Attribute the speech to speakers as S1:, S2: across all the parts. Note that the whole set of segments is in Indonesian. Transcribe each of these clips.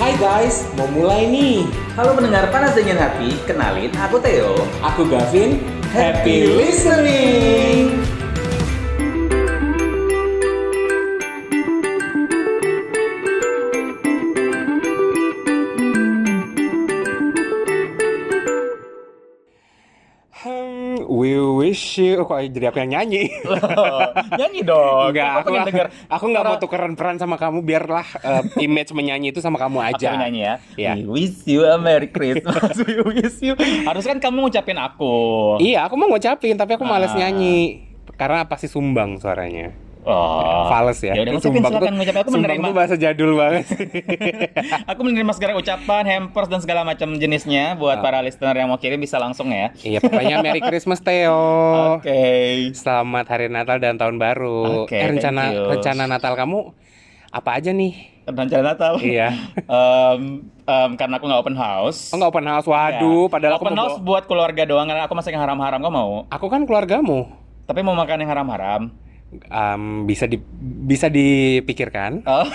S1: Hai guys, mau mulai nih.
S2: Halo pendengar panas dingin hati, kenalin aku Theo.
S1: Aku Gavin. Happy
S2: Happy
S1: listening. Hmm, We wish you Oh, kok jadi aku yang nyanyi.
S2: Nyanyi dong.
S1: Enggak,
S2: Oh, Aku
S1: aku
S2: pengen denger.
S1: aku nggak mau tukeran peran sama kamu. Biarlah eh, image menyanyi itu sama kamu
S2: Aku
S1: aja.
S2: yang nyanyi ya.
S1: Iya.
S2: We wish you a Merry Christmas. We wish you. Harus kan kamu ngucapin aku.
S1: Iya, aku mau ngucapin tapi aku males
S2: Ah.
S1: nyanyi karena pasti sumbang suaranya.
S2: Oh.
S1: Fales ya.
S2: Yaudah, ngucapin,
S1: Sumbang
S2: silakan
S1: tuh-
S2: kan ngucapin. Aku
S1: sumbang
S2: menerima.
S1: tuh bahasa jadul banget.
S2: aku menerima segala ucapan, hampers dan segala macam jenisnya
S1: Ah.
S2: buat para listener yang mau kirim bisa langsung ya.
S1: iya, pokoknya Merry Christmas Theo. Oh.
S2: Oke.
S1: Selamat hari Natal dan tahun baru.
S2: Oke,
S1: Eh, rencana
S2: thank you.
S1: rencana Natal kamu apa aja nih?
S2: Rencana Natal.
S1: Iya.
S2: Em, em, karena aku nggak open house.
S1: Oh, nggak open house. Waduh,
S2: Ya.
S1: padahal aku
S2: open
S1: mau
S2: house
S1: bawa-
S2: buat keluarga doang karena aku masak yang haram-haram kau mau.
S1: Aku kan keluargamu.
S2: Tapi mau makan yang haram-haram.
S1: Em, bisa di bisa dipikirkan.
S2: Oh.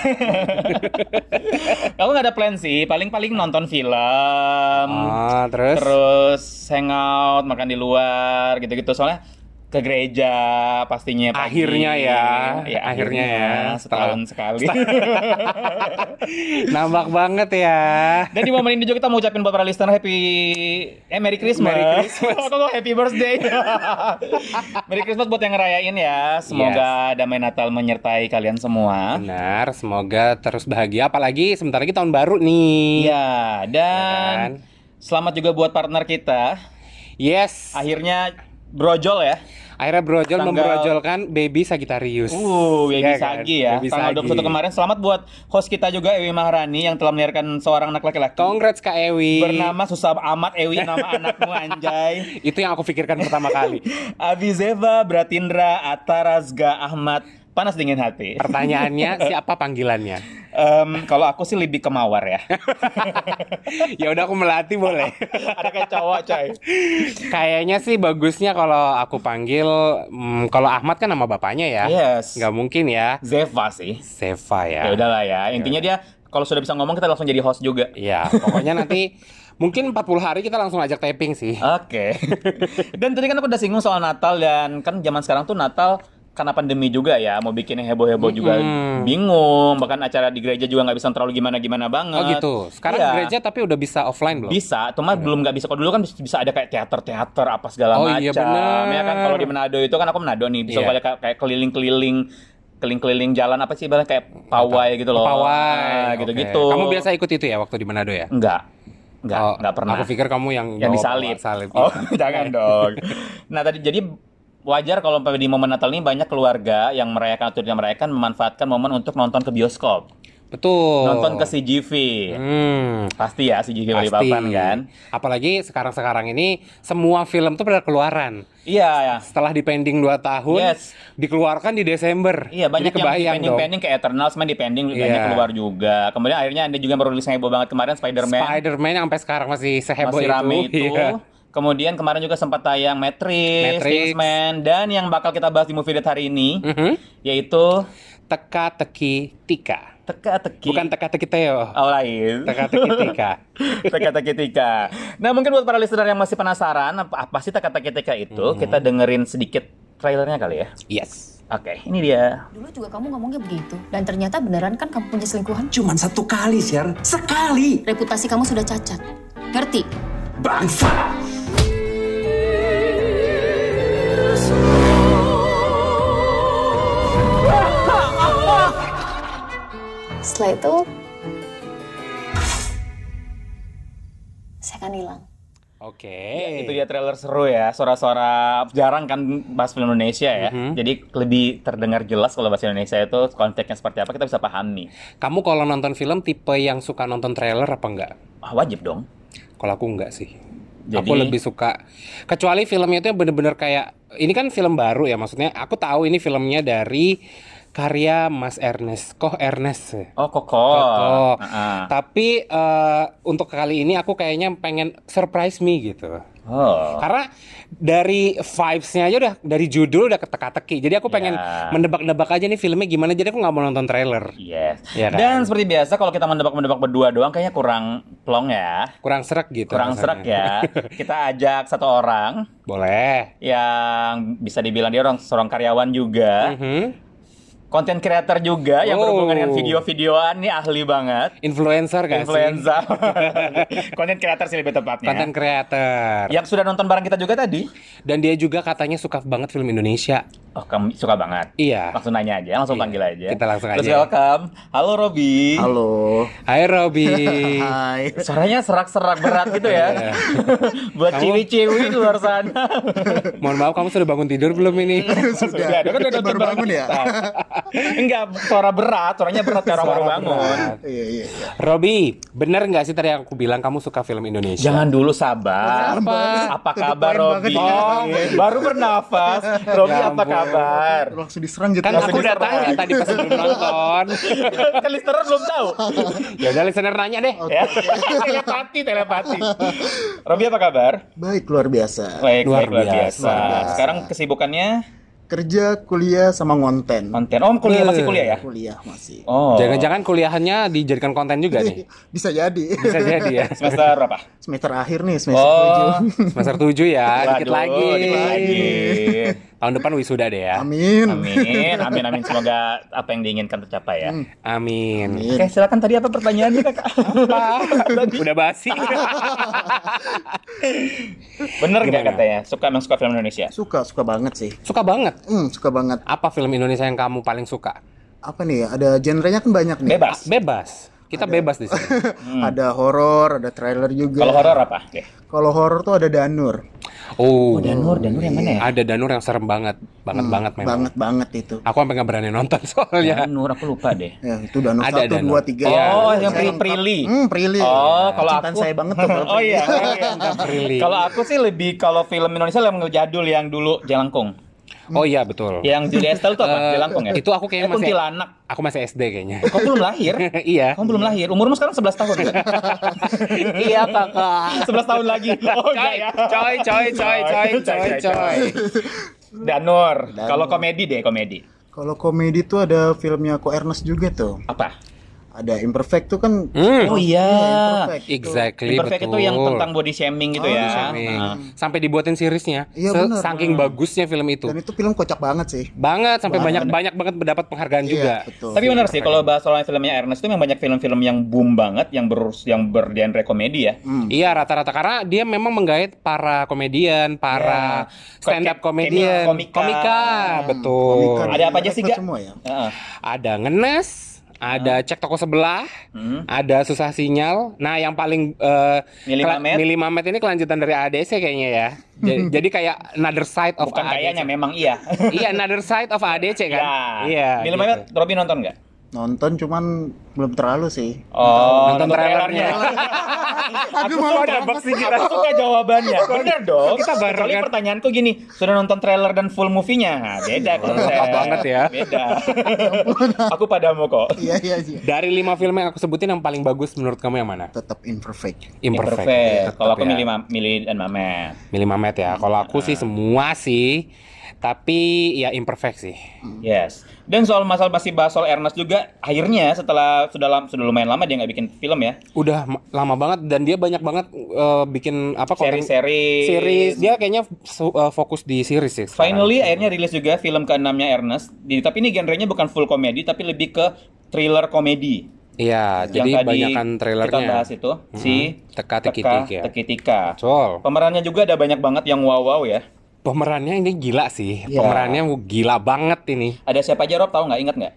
S2: Aku nggak ada plan sih, paling-paling nonton film,
S1: Ah, terus,
S2: terus hangout, makan di luar, gitu-gitu. Soalnya ke gereja pastinya pagi.
S1: Akhirnya ya,
S2: Ya,
S1: akhirnya ya.
S2: setahun sekali.
S1: nambah banget ya.
S2: Dan di momen ini juga kita mau ucapin buat para listener happy eh Merry Christmas.
S1: Merry Christmas.
S2: Kok nggak happy birthday. Merry Christmas buat yang ngerayain ya. Semoga damai Natal menyertai kalian semua.
S1: Benar, semoga terus bahagia apalagi sebentar lagi tahun baru nih.
S2: Iya, dan
S1: kan?
S2: selamat juga buat partner kita.
S1: Yes.
S2: Akhirnya brojol ya.
S1: Akhirnya Brojol
S2: Tanggal-
S1: membrojolkan baby Sagittarius.
S2: Uh,
S1: Iya
S2: Baby
S1: kan?
S2: Sagi ya.
S1: Baby
S2: Tanggal
S1: Sagi.
S2: 21 kemarin. Selamat buat host kita juga Ewi Maharani yang telah melahirkan seorang anak laki-laki.
S1: Congrats Kak Ewi.
S2: Bernama susah amat Ewi nama anakmu anjay.
S1: Itu yang aku pikirkan pertama kali.
S2: Abizeva, Bratindra, Atarazga, Ahmad. Panas dingin hati.
S1: Pertanyaannya siapa panggilannya?
S2: Em, kalau aku sih lebih ke mawar ya.
S1: Ya udah aku melatih boleh.
S2: Ada kayak cowok coy.
S1: Kayaknya sih bagusnya kalau aku panggil mm, kalau Ahmad kan nama bapaknya ya.
S2: Yes.
S1: Nggak mungkin ya.
S2: Zeva sih.
S1: Seva ya.
S2: Iya. Ya udahlah ya. Intinya dia kalau sudah bisa ngomong kita langsung jadi host juga.
S1: Iya, pokoknya nanti mungkin 40 hari kita langsung ajak taping sih.
S2: Oke. dan tadi kan aku udah singgung soal Natal dan kan zaman sekarang tuh Natal karena pandemi juga ya mau bikin yang heboh-heboh juga
S1: Mm-mm.
S2: bingung bahkan acara di gereja juga nggak bisa terlalu gimana-gimana banget.
S1: Oh gitu. Sekarang
S2: Iya.
S1: gereja tapi udah bisa offline belum?
S2: Bisa, cuma belum nggak bisa. Kalau dulu kan bisa, bisa ada kayak teater-teater apa
S1: Iya.
S2: segala
S1: Oh,
S2: macam.
S1: iya benar.
S2: Ya kan kalau di Manado itu kan aku Manado nih, bisa
S1: Iya.
S2: balik kayak kayak keliling-keliling keliling-keliling jalan apa sih ibaratnya kayak pawai gitu loh. Ah,
S1: Pawai.
S2: gitu-gitu.
S1: Oke. Kamu biasa ikut itu ya waktu di Manado ya?
S2: Enggak. Enggak,
S1: Oh,
S2: enggak pernah.
S1: Aku pikir kamu yang bawa
S2: yang disalib.
S1: bawa salib. Iya,
S2: Oh, jangan dong. Nah, tadi jadi wajar kalau di momen Natal ini banyak keluarga yang merayakan atau tidak merayakan memanfaatkan momen untuk nonton ke bioskop,
S1: Betul.
S2: nonton ke CGV.
S1: Oh. Hmm.
S2: Pasti ya CGV
S1: Pasti.
S2: Balikpapan kan?
S1: Apalagi sekarang-sekarang ini semua film tuh pada keluaran.
S2: Iya, ya.
S1: Setelah dipending 2 tahun,
S2: Yes.
S1: dikeluarkan di Desember.
S2: Iya banyak
S1: Jadi
S2: yang
S1: kebayang
S2: pending
S1: dong.
S2: pending ke Eternals, main di pending banyak
S1: Iya.
S2: keluar juga. Kemudian akhirnya ada juga yang baru rilis yang heboh banget kemarin Spider-Man
S1: Spider-Man yang sampai sekarang masih seheboh
S2: masih
S1: itu.
S2: rame itu.
S1: Iya.
S2: Kemudian kemarin juga sempat tayang Matrix,
S1: Matrix.
S2: Kingsman dan yang bakal kita bahas di movie date hari ini
S1: Mhm.
S2: yaitu
S1: Teka-teki Tika.
S2: teka-teki
S1: Bukan teka-teki Teo.
S2: Oh lain.
S1: Teka-teki Tika.
S2: Teka-teki Tika. Nah mungkin buat para listener yang masih penasaran apa, apa sih teka-teki Tika itu,
S1: Hmm.
S2: kita dengerin sedikit trailernya kali ya.
S1: Yes.
S2: Oke, ini dia.
S3: Dulu juga kamu ngomongnya begitu. Dan ternyata beneran kan kamu punya selingkuhan.
S4: Cuman satu kali, Sher. Sekali.
S3: Reputasi kamu sudah cacat. Ngerti?
S4: Bangsa.
S3: Setelah itu... Saya akan hilang.
S1: Oke. Eh.
S2: Itu dia trailer seru Iya, gitu ya, suara-suara jarang kan bahas film Indonesia ya.
S1: Mhm.
S2: Jadi lebih terdengar jelas kalau bahasa Indonesia itu konteksnya seperti apa kita bisa pahami.
S1: Kamu kalau nonton film tipe yang suka nonton trailer apa enggak?
S2: Wah, Ah, wajib dong.
S1: Kalau aku enggak sih.
S2: Jadi-
S1: Aku lebih suka kecuali filmnya itu yang bener-bener kayak ini kan film baru ya maksudnya. Aku tahu ini filmnya dari karya Mas Ernest. Koh Ernest. ya?
S2: Oh, koko.
S1: Kokoh.
S2: Ah, ah.
S1: Tapi eh, untuk kali ini aku kayaknya pengen surprise me gitu.
S2: Oh.
S1: Karena dari vibes-nya aja udah dari judul udah keteka-teki. Jadi aku pengen
S2: Ya.
S1: menebak-nebak aja nih filmnya gimana. Jadi aku nggak mau nonton trailer.
S2: Yes.
S1: Iya kan?
S2: Dan seperti biasa kalau kita mendebak-mendebak berdua doang kayaknya kurang plong ya.
S1: Kurang serak gitu.
S2: Kurang
S1: rasanya.
S2: serak ya. Kita ajak satu orang
S1: Boleh.
S2: yang bisa dibilang dia orang seorang karyawan juga,
S1: Mhm.
S2: konten creator juga yang berhubungan dengan
S1: Oh.
S2: video-videoan nih ahli banget.
S1: Influencer gak sih?
S2: Influenza. konten creator sih lebih tepatnya.
S1: Content creator.
S2: Yang sudah nonton bareng kita juga tadi.
S1: Dan dia juga katanya suka banget film Indonesia.
S2: Oh, kamu suka banget.
S1: Iya.
S2: Langsung nanya aja, langsung
S1: Iya.
S2: panggil aja.
S1: Kita langsung
S2: Terus
S1: aja.
S2: welcome. Halo Robi.
S5: Halo.
S1: Hai Robby.
S5: Hai.
S2: Suaranya serak-serak berat gitu ya.
S1: Iya.
S2: Buat
S1: Kamu-
S2: ciwi-ciwi di luar sana.
S1: Mohon maaf kamu sudah bangun tidur belum ini?
S5: Sudah.
S2: kan udah nonton
S5: Baru
S2: bareng
S5: bangun ya?
S2: kita. Enggak, suara berat, suaranya berat karena baru bangun.
S5: Iya, iya. iya.
S1: Robby, bener nggak sih tadi yang aku bilang kamu suka film Indonesia?
S2: Jangan dulu sabar.
S5: Beneran banget.
S2: Apa
S5: To the
S2: kabar
S5: point
S2: Robi?
S5: banget ya.
S2: Oh, baru bernafas. Robi
S1: Ya
S2: apa
S1: ampun.
S2: kabar?
S5: Langsung diserang gitu.
S1: Kan
S2: Langsung
S1: aku udah
S2: diserang.
S1: tanya tadi pas sebelum nonton.
S2: kan listener belum tahu.
S1: ya udah listener nanya deh.
S2: ya. telepati, telepati. Robi apa kabar?
S5: Baik, luar biasa.
S2: Baik,
S1: Luar
S2: baik, luar biasa.
S1: biasa.
S5: Luar biasa.
S2: Sekarang kesibukannya
S5: Kerja, kuliah, sama ngonten.
S2: konten. Oh, kuliah masih kuliah ya?
S5: Kuliah masih.
S2: Oh.
S1: Jangan-jangan kuliahannya dijadikan konten juga nih.
S5: Bisa jadi.
S1: Bisa jadi ya.
S2: semester berapa?
S5: Semester akhir nih, semester
S2: Oh.
S5: 7.
S1: Semester 7 ya, dikit
S2: Waduh,
S1: lagi.
S2: dikit lagi.
S1: Tahun depan wisuda deh ya.
S5: Amin.
S2: Amin, amin, amin. Semoga apa yang diinginkan tercapai ya.
S1: Amin.
S5: Amin.
S2: Oke, silakan tadi apa pertanyaannya kakak?
S1: udah basi.
S2: Bener nggak
S1: Gimana?
S2: katanya? Suka emang suka film Indonesia?
S5: Suka, suka banget sih.
S1: suka banget.
S5: Hmm, suka banget.
S1: Apa film Indonesia yang kamu paling suka?
S5: Apa nih? ya? Ada genrenya kan banyak nih.
S2: Bebas. Hmm.
S1: Bebas. Kita bebas di sini.
S5: ada horor, ada trailer juga.
S2: Kalau horor apa? Oke.
S5: Kalau horor tuh ada Danur.
S1: Oh.
S2: Danur, Danur yang mana ya? Hmm.
S1: Ada Danur yang serem banget, banget banget memang.
S5: Banget banget itu.
S1: Aku sampai nggak berani nonton soalnya.
S2: Danur, aku lupa deh.
S5: Ya, itu Danur
S1: Ada
S5: 1,
S1: Danur.
S2: Oh, yang
S5: 2, 3. Saya
S2: Pri-
S5: Iya, lengkap.
S2: Prilly.
S5: Hmm, Prilly.
S2: Oh, kalau
S5: Cintaan
S2: aku-
S5: saya banget tuh. kalau
S2: Oh
S5: Prilly.
S2: iya.
S1: Prilly.
S2: Kalau aku sih lebih kalau film Indonesia yang jadul yang dulu Jelangkung.
S1: Oh iya betul.
S2: Yang Julia Estelle tuh
S1: Eh,
S2: apa? Jelangkung ya?
S1: Itu aku kayaknya
S2: Eh,
S1: masih
S2: kuntilanak.
S1: Aku masih SD kayaknya.
S2: Kau belum lahir?
S1: iya.
S2: Kamu belum lahir. Umurmu sekarang 11 tahun kan?
S1: iya kakak.
S2: 11 tahun lagi. Oh
S1: Coy,
S2: enggak ya.
S1: coy, coy, coy, coy, coy, coy.
S2: Danur. Kalau komedi deh, komedi.
S5: Kalau komedi tuh ada filmnya Ko Ernest juga tuh.
S2: Apa?
S5: Ada Imperfect tuh kan.
S1: Hmm,
S2: Oh iya.
S5: Imperfect.
S1: exactly
S2: Imperfect
S1: betul.
S2: itu yang tentang body shaming gitu ya.
S1: Oh, Shaming.
S2: Nah.
S1: Sampai dibuatin seriesnya.
S5: Iya,
S1: Se-
S5: bener.
S1: Saking bagusnya film itu.
S5: Dan itu film kocak banget sih.
S1: Banget sampai banyak banyak banget mendapat penghargaan juga.
S5: Iya, betul.
S2: Tapi benar sih kalau bahas soal filmnya Ernest itu memang banyak film-film yang boom banget yang ber yang bergenre komedi ya.
S5: Hmm.
S1: Iya rata-rata karena dia memang menggait para komedian, para
S2: Ya.
S1: stand up
S2: Kayak-
S1: komedian,
S2: kayak komika.
S1: betul.
S5: Komika
S2: Ada apa aja sih, Ga?
S5: Netflix Semua ya.
S2: Heeh.
S1: Ada ngenes, ada cek toko sebelah,
S2: Hmm.
S1: ada susah sinyal. Nah yang paling eh,
S2: Mili
S1: kela-
S2: Mamet.
S1: Mili Mamet ini kelanjutan dari ADC kayaknya ya. Ja- jadi kayak another side of
S2: Hmm. Bukan
S1: ADC.
S2: kayaknya Ya. memang iya.
S1: iya another side of ADC kan. Iya.
S2: Film
S1: gitu.
S2: Mamet, Robby nonton nggak?
S5: Nonton cuman belum terlalu sih.
S2: Oh,
S1: Nonton trailernya.
S2: Aku mau tebak sih kita suka jawabannya. Bener dong.
S1: Kita kan? barengan.
S2: Kecuali pertanyaanku gini, sudah nonton trailer dan full movie-nya? Nah, Beda konsep.
S1: banget ya.
S2: Beda.
S5: Ya
S2: Aku padamu kok.
S5: Iya iya iya.
S1: Dari lima film yang aku sebutin yang paling bagus menurut kamu yang mana?
S5: Tetap Imperfect.
S1: Imperfect.
S2: Perfect. Kalau aku Ah.
S1: Tetap ya.
S2: milih Ma- milih dan Mamet.
S1: Milih Mamet ya. Kalau aku sih semua sih, tapi ya imperfect sih.
S2: Yes. Dan soal masalah masih bahas soal Ernest juga, akhirnya setelah sudah lam- sudah lumayan lama dia nggak bikin film ya.
S1: Udah ma- lama banget dan dia banyak banget eh, bikin apa konten-
S2: Seri-seri.
S1: series. Dia kayaknya so- eh, fokus di series sih. sekarang.
S2: Finally akhirnya rilis juga film keenamnya Ernest. Di, tapi ini genrenya bukan full komedi tapi lebih ke thriller komedi.
S1: Iya, jadi banyakan trailernya.
S2: Kita bahas itu si
S1: Teka Teki Teki ya.
S2: Tekitika.
S1: Betul.
S2: Pemerannya juga ada banyak banget yang wow wow ya.
S1: Pemerannya ini gila sih.
S2: Iya.
S1: Pemerannya gila banget ini.
S2: Ada siapa aja Rob tahu nggak ingat nggak?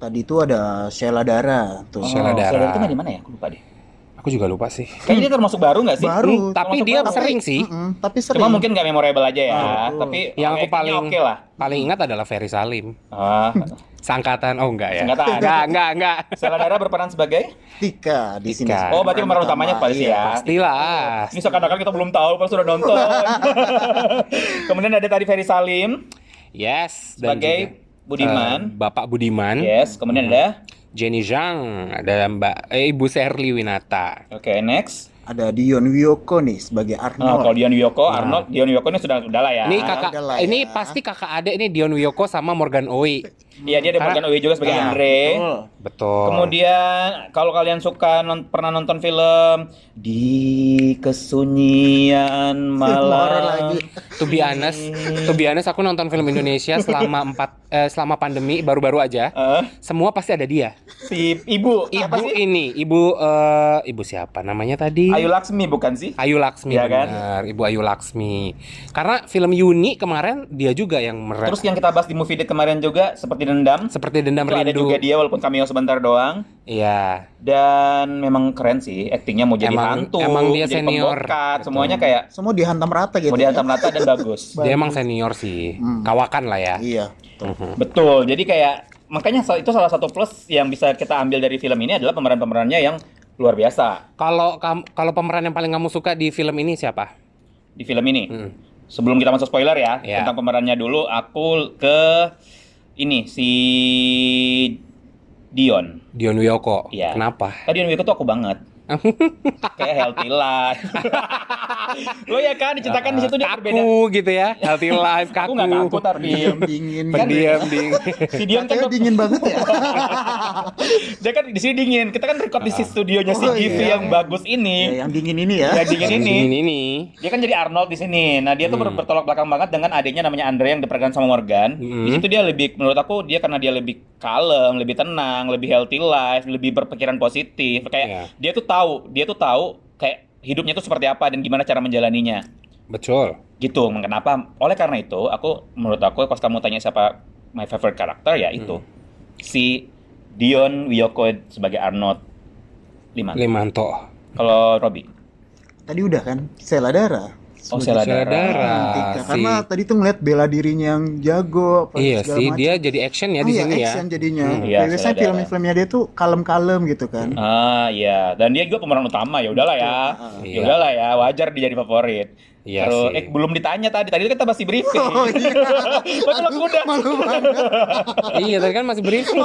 S5: Tadi tuh ada Sheila Dara tuh.
S1: Sheila Dara.
S2: itu nggak di mana ya? Aku lupa deh.
S1: Aku juga lupa sih.
S2: Kayaknya dia termasuk baru nggak sih?
S5: Baru.
S1: Hmm, tapi dia
S5: Tapi-
S1: sering sih.
S5: Mm-mm, tapi sering.
S2: Cuma mungkin nggak memorable aja ya.
S5: betul.
S2: tapi
S1: Yang aku
S2: actingnya
S1: paling
S2: oke lah.
S1: paling ingat adalah Ferry Salim.
S2: Ah,
S1: Sangkatan oh enggak ya.
S2: Sangkatan.
S1: enggak, enggak, enggak.
S2: Sheila Dara berperan sebagai?
S5: Tika di sini.
S1: Tika.
S2: Oh, berarti pemeran utamanya pasti
S5: iya.
S2: ya.
S1: Pastilah.
S2: Ini seakan-akan kita belum tahu, pas sudah nonton. Kemudian ada tadi Ferry Salim
S1: Yes, dan
S2: sebagai
S1: juga, eh,
S2: Budiman. Iya.
S1: Bapak Budiman.
S2: yes, kemudian ada
S1: Jenny Zhang, ada Mbak eh, Ibu Serli Winata.
S2: Oke, next.
S5: ada Dion Wiyoko nih sebagai
S2: Nah, kalau
S5: Arnold.
S2: Dion Wiyoko, Arnold, Dion Wiyoko ini sudah udah lah ya.
S1: Ini kakak,
S5: udah lah
S1: ini
S5: ya.
S1: pasti kakak adik nih Dion Wiyoko sama Morgan Owi.
S2: Iya, dia ada
S1: Karena-
S2: Morgan Owi juga sebagai
S5: Nah,
S2: Andre.
S5: betul.
S1: Betul.
S2: Kemudian kalau kalian suka non- pernah nonton film di kesunyian
S5: Horor
S2: malam.
S5: lagi.
S1: To be honest, to be honest, aku nonton film Indonesia selama empat eh, selama pandemi baru-baru aja.
S2: Eh,
S1: Semua pasti ada dia.
S2: si ibu, apa
S1: Ibu
S2: sih?
S1: ini, ibu eh, ibu siapa namanya tadi?
S2: Ayu Laksmi bukan sih?
S1: Ayu Laksmi
S2: Iya kan?
S1: benar, Ibu Ayu Laksmi. Karena film Yuni kemarin dia juga yang meran
S2: Terus yang kita bahas di movie date kemarin juga seperti dendam.
S1: seperti dendam
S2: Itu ada
S1: rindu.
S2: juga dia walaupun cameo sebentar doang.
S1: Iya.
S2: Dan memang keren sih aktingnya mau jadi
S1: Emang-
S2: hantu,
S1: emang dia
S2: jadi
S1: senior.
S2: pembongkat,
S1: Betul.
S2: semuanya kayak
S5: Semua dihantam rata gitu.
S2: mau dihantam rata dan bagus. Hmm.
S1: Dia emang senior sih. Kawakan lah ya.
S5: Iya.
S2: Betul. Jadi kayak makanya sa- itu salah satu plus yang bisa kita ambil dari film ini adalah pemeran-pemerannya yang luar biasa
S1: Kalau kam- kalau pemeran yang paling kamu suka di film ini siapa?
S2: di film ini.
S1: Hmm.
S2: Sebelum kita masuk spoiler ya
S1: Iya.
S2: tentang pemerannya dulu, aku ke ini si Dion.
S1: Dion Wiyoko.
S2: Iya.
S1: Kenapa?
S2: Tadi Dion Wiko tuh aku banget. Kayak healthy life. Lo ya kan diceritakan di situ dia berbeda.
S1: Kaku gitu ya. Healthy life kaku.
S2: Aku nggak kaku tapi kan
S5: Diam dingin. gitu.
S1: Pendiam ding.
S2: si Dion kan
S5: Katanya
S2: tuh-
S5: dingin banget ya.
S2: dia kan di sini dingin. Kita kan record di studionya si
S5: Oh,
S2: Givi
S5: iya.
S2: yang bagus
S5: Ya,
S2: ini.
S5: yang dingin ini ya.
S1: Iya.
S2: Ya dingin ini.
S1: Ini ini.
S2: Dia kan jadi Arnold di sini. Nah, dia tuh ber- bertolak belakang banget dengan adiknya namanya Andre yang diperankan sama Morgan.
S1: Hmm.
S2: Di situ dia lebih menurut aku dia karena dia lebih kalem, lebih tenang, lebih healthy life, lebih berpikiran positif. Kayak
S1: Iya.
S2: dia tuh tahu, dia tuh tahu kayak hidupnya tuh seperti apa dan gimana cara menjalaninya.
S1: Betul.
S2: Gitu. Kenapa? Oleh karena itu, aku menurut aku pas kamu tanya siapa my favorite karakter ya
S1: Hmm.
S2: itu si Dion Wiyoko sebagai Arnold Lima.
S1: Iya. Limanto.
S2: Kalau Robby,
S5: Tadi udah kan. Seladara.
S2: oh Sheila
S1: Sheila
S2: Dara.
S1: Dara.
S5: Cantik,
S1: si-
S5: ya, Karena tadi tuh ngeliat bela dirinya yang jago. apa
S1: Iya
S5: segala
S1: sih,
S5: macam.
S1: dia jadi action ya
S5: Oh
S1: di
S5: iya,
S1: sini ya.
S5: action jadinya.
S2: Iya,
S5: Kayak Biasanya
S2: saudara.
S5: film-filmnya dia tuh kalem-kalem gitu kan.
S1: Hmm.
S2: Ah iya, dan dia juga pemeran utama ya udahlah ya,
S5: Ah,
S1: Iya.
S2: ya udahlah ya wajar dia jadi favorit.
S1: Iya
S2: Terus
S1: sih.
S2: eh belum ditanya tadi, tadi kita masih briefing.
S5: Oh iya.
S2: Padahal aku udah.
S5: Malu banget.
S1: iya, tadi kan masih briefing.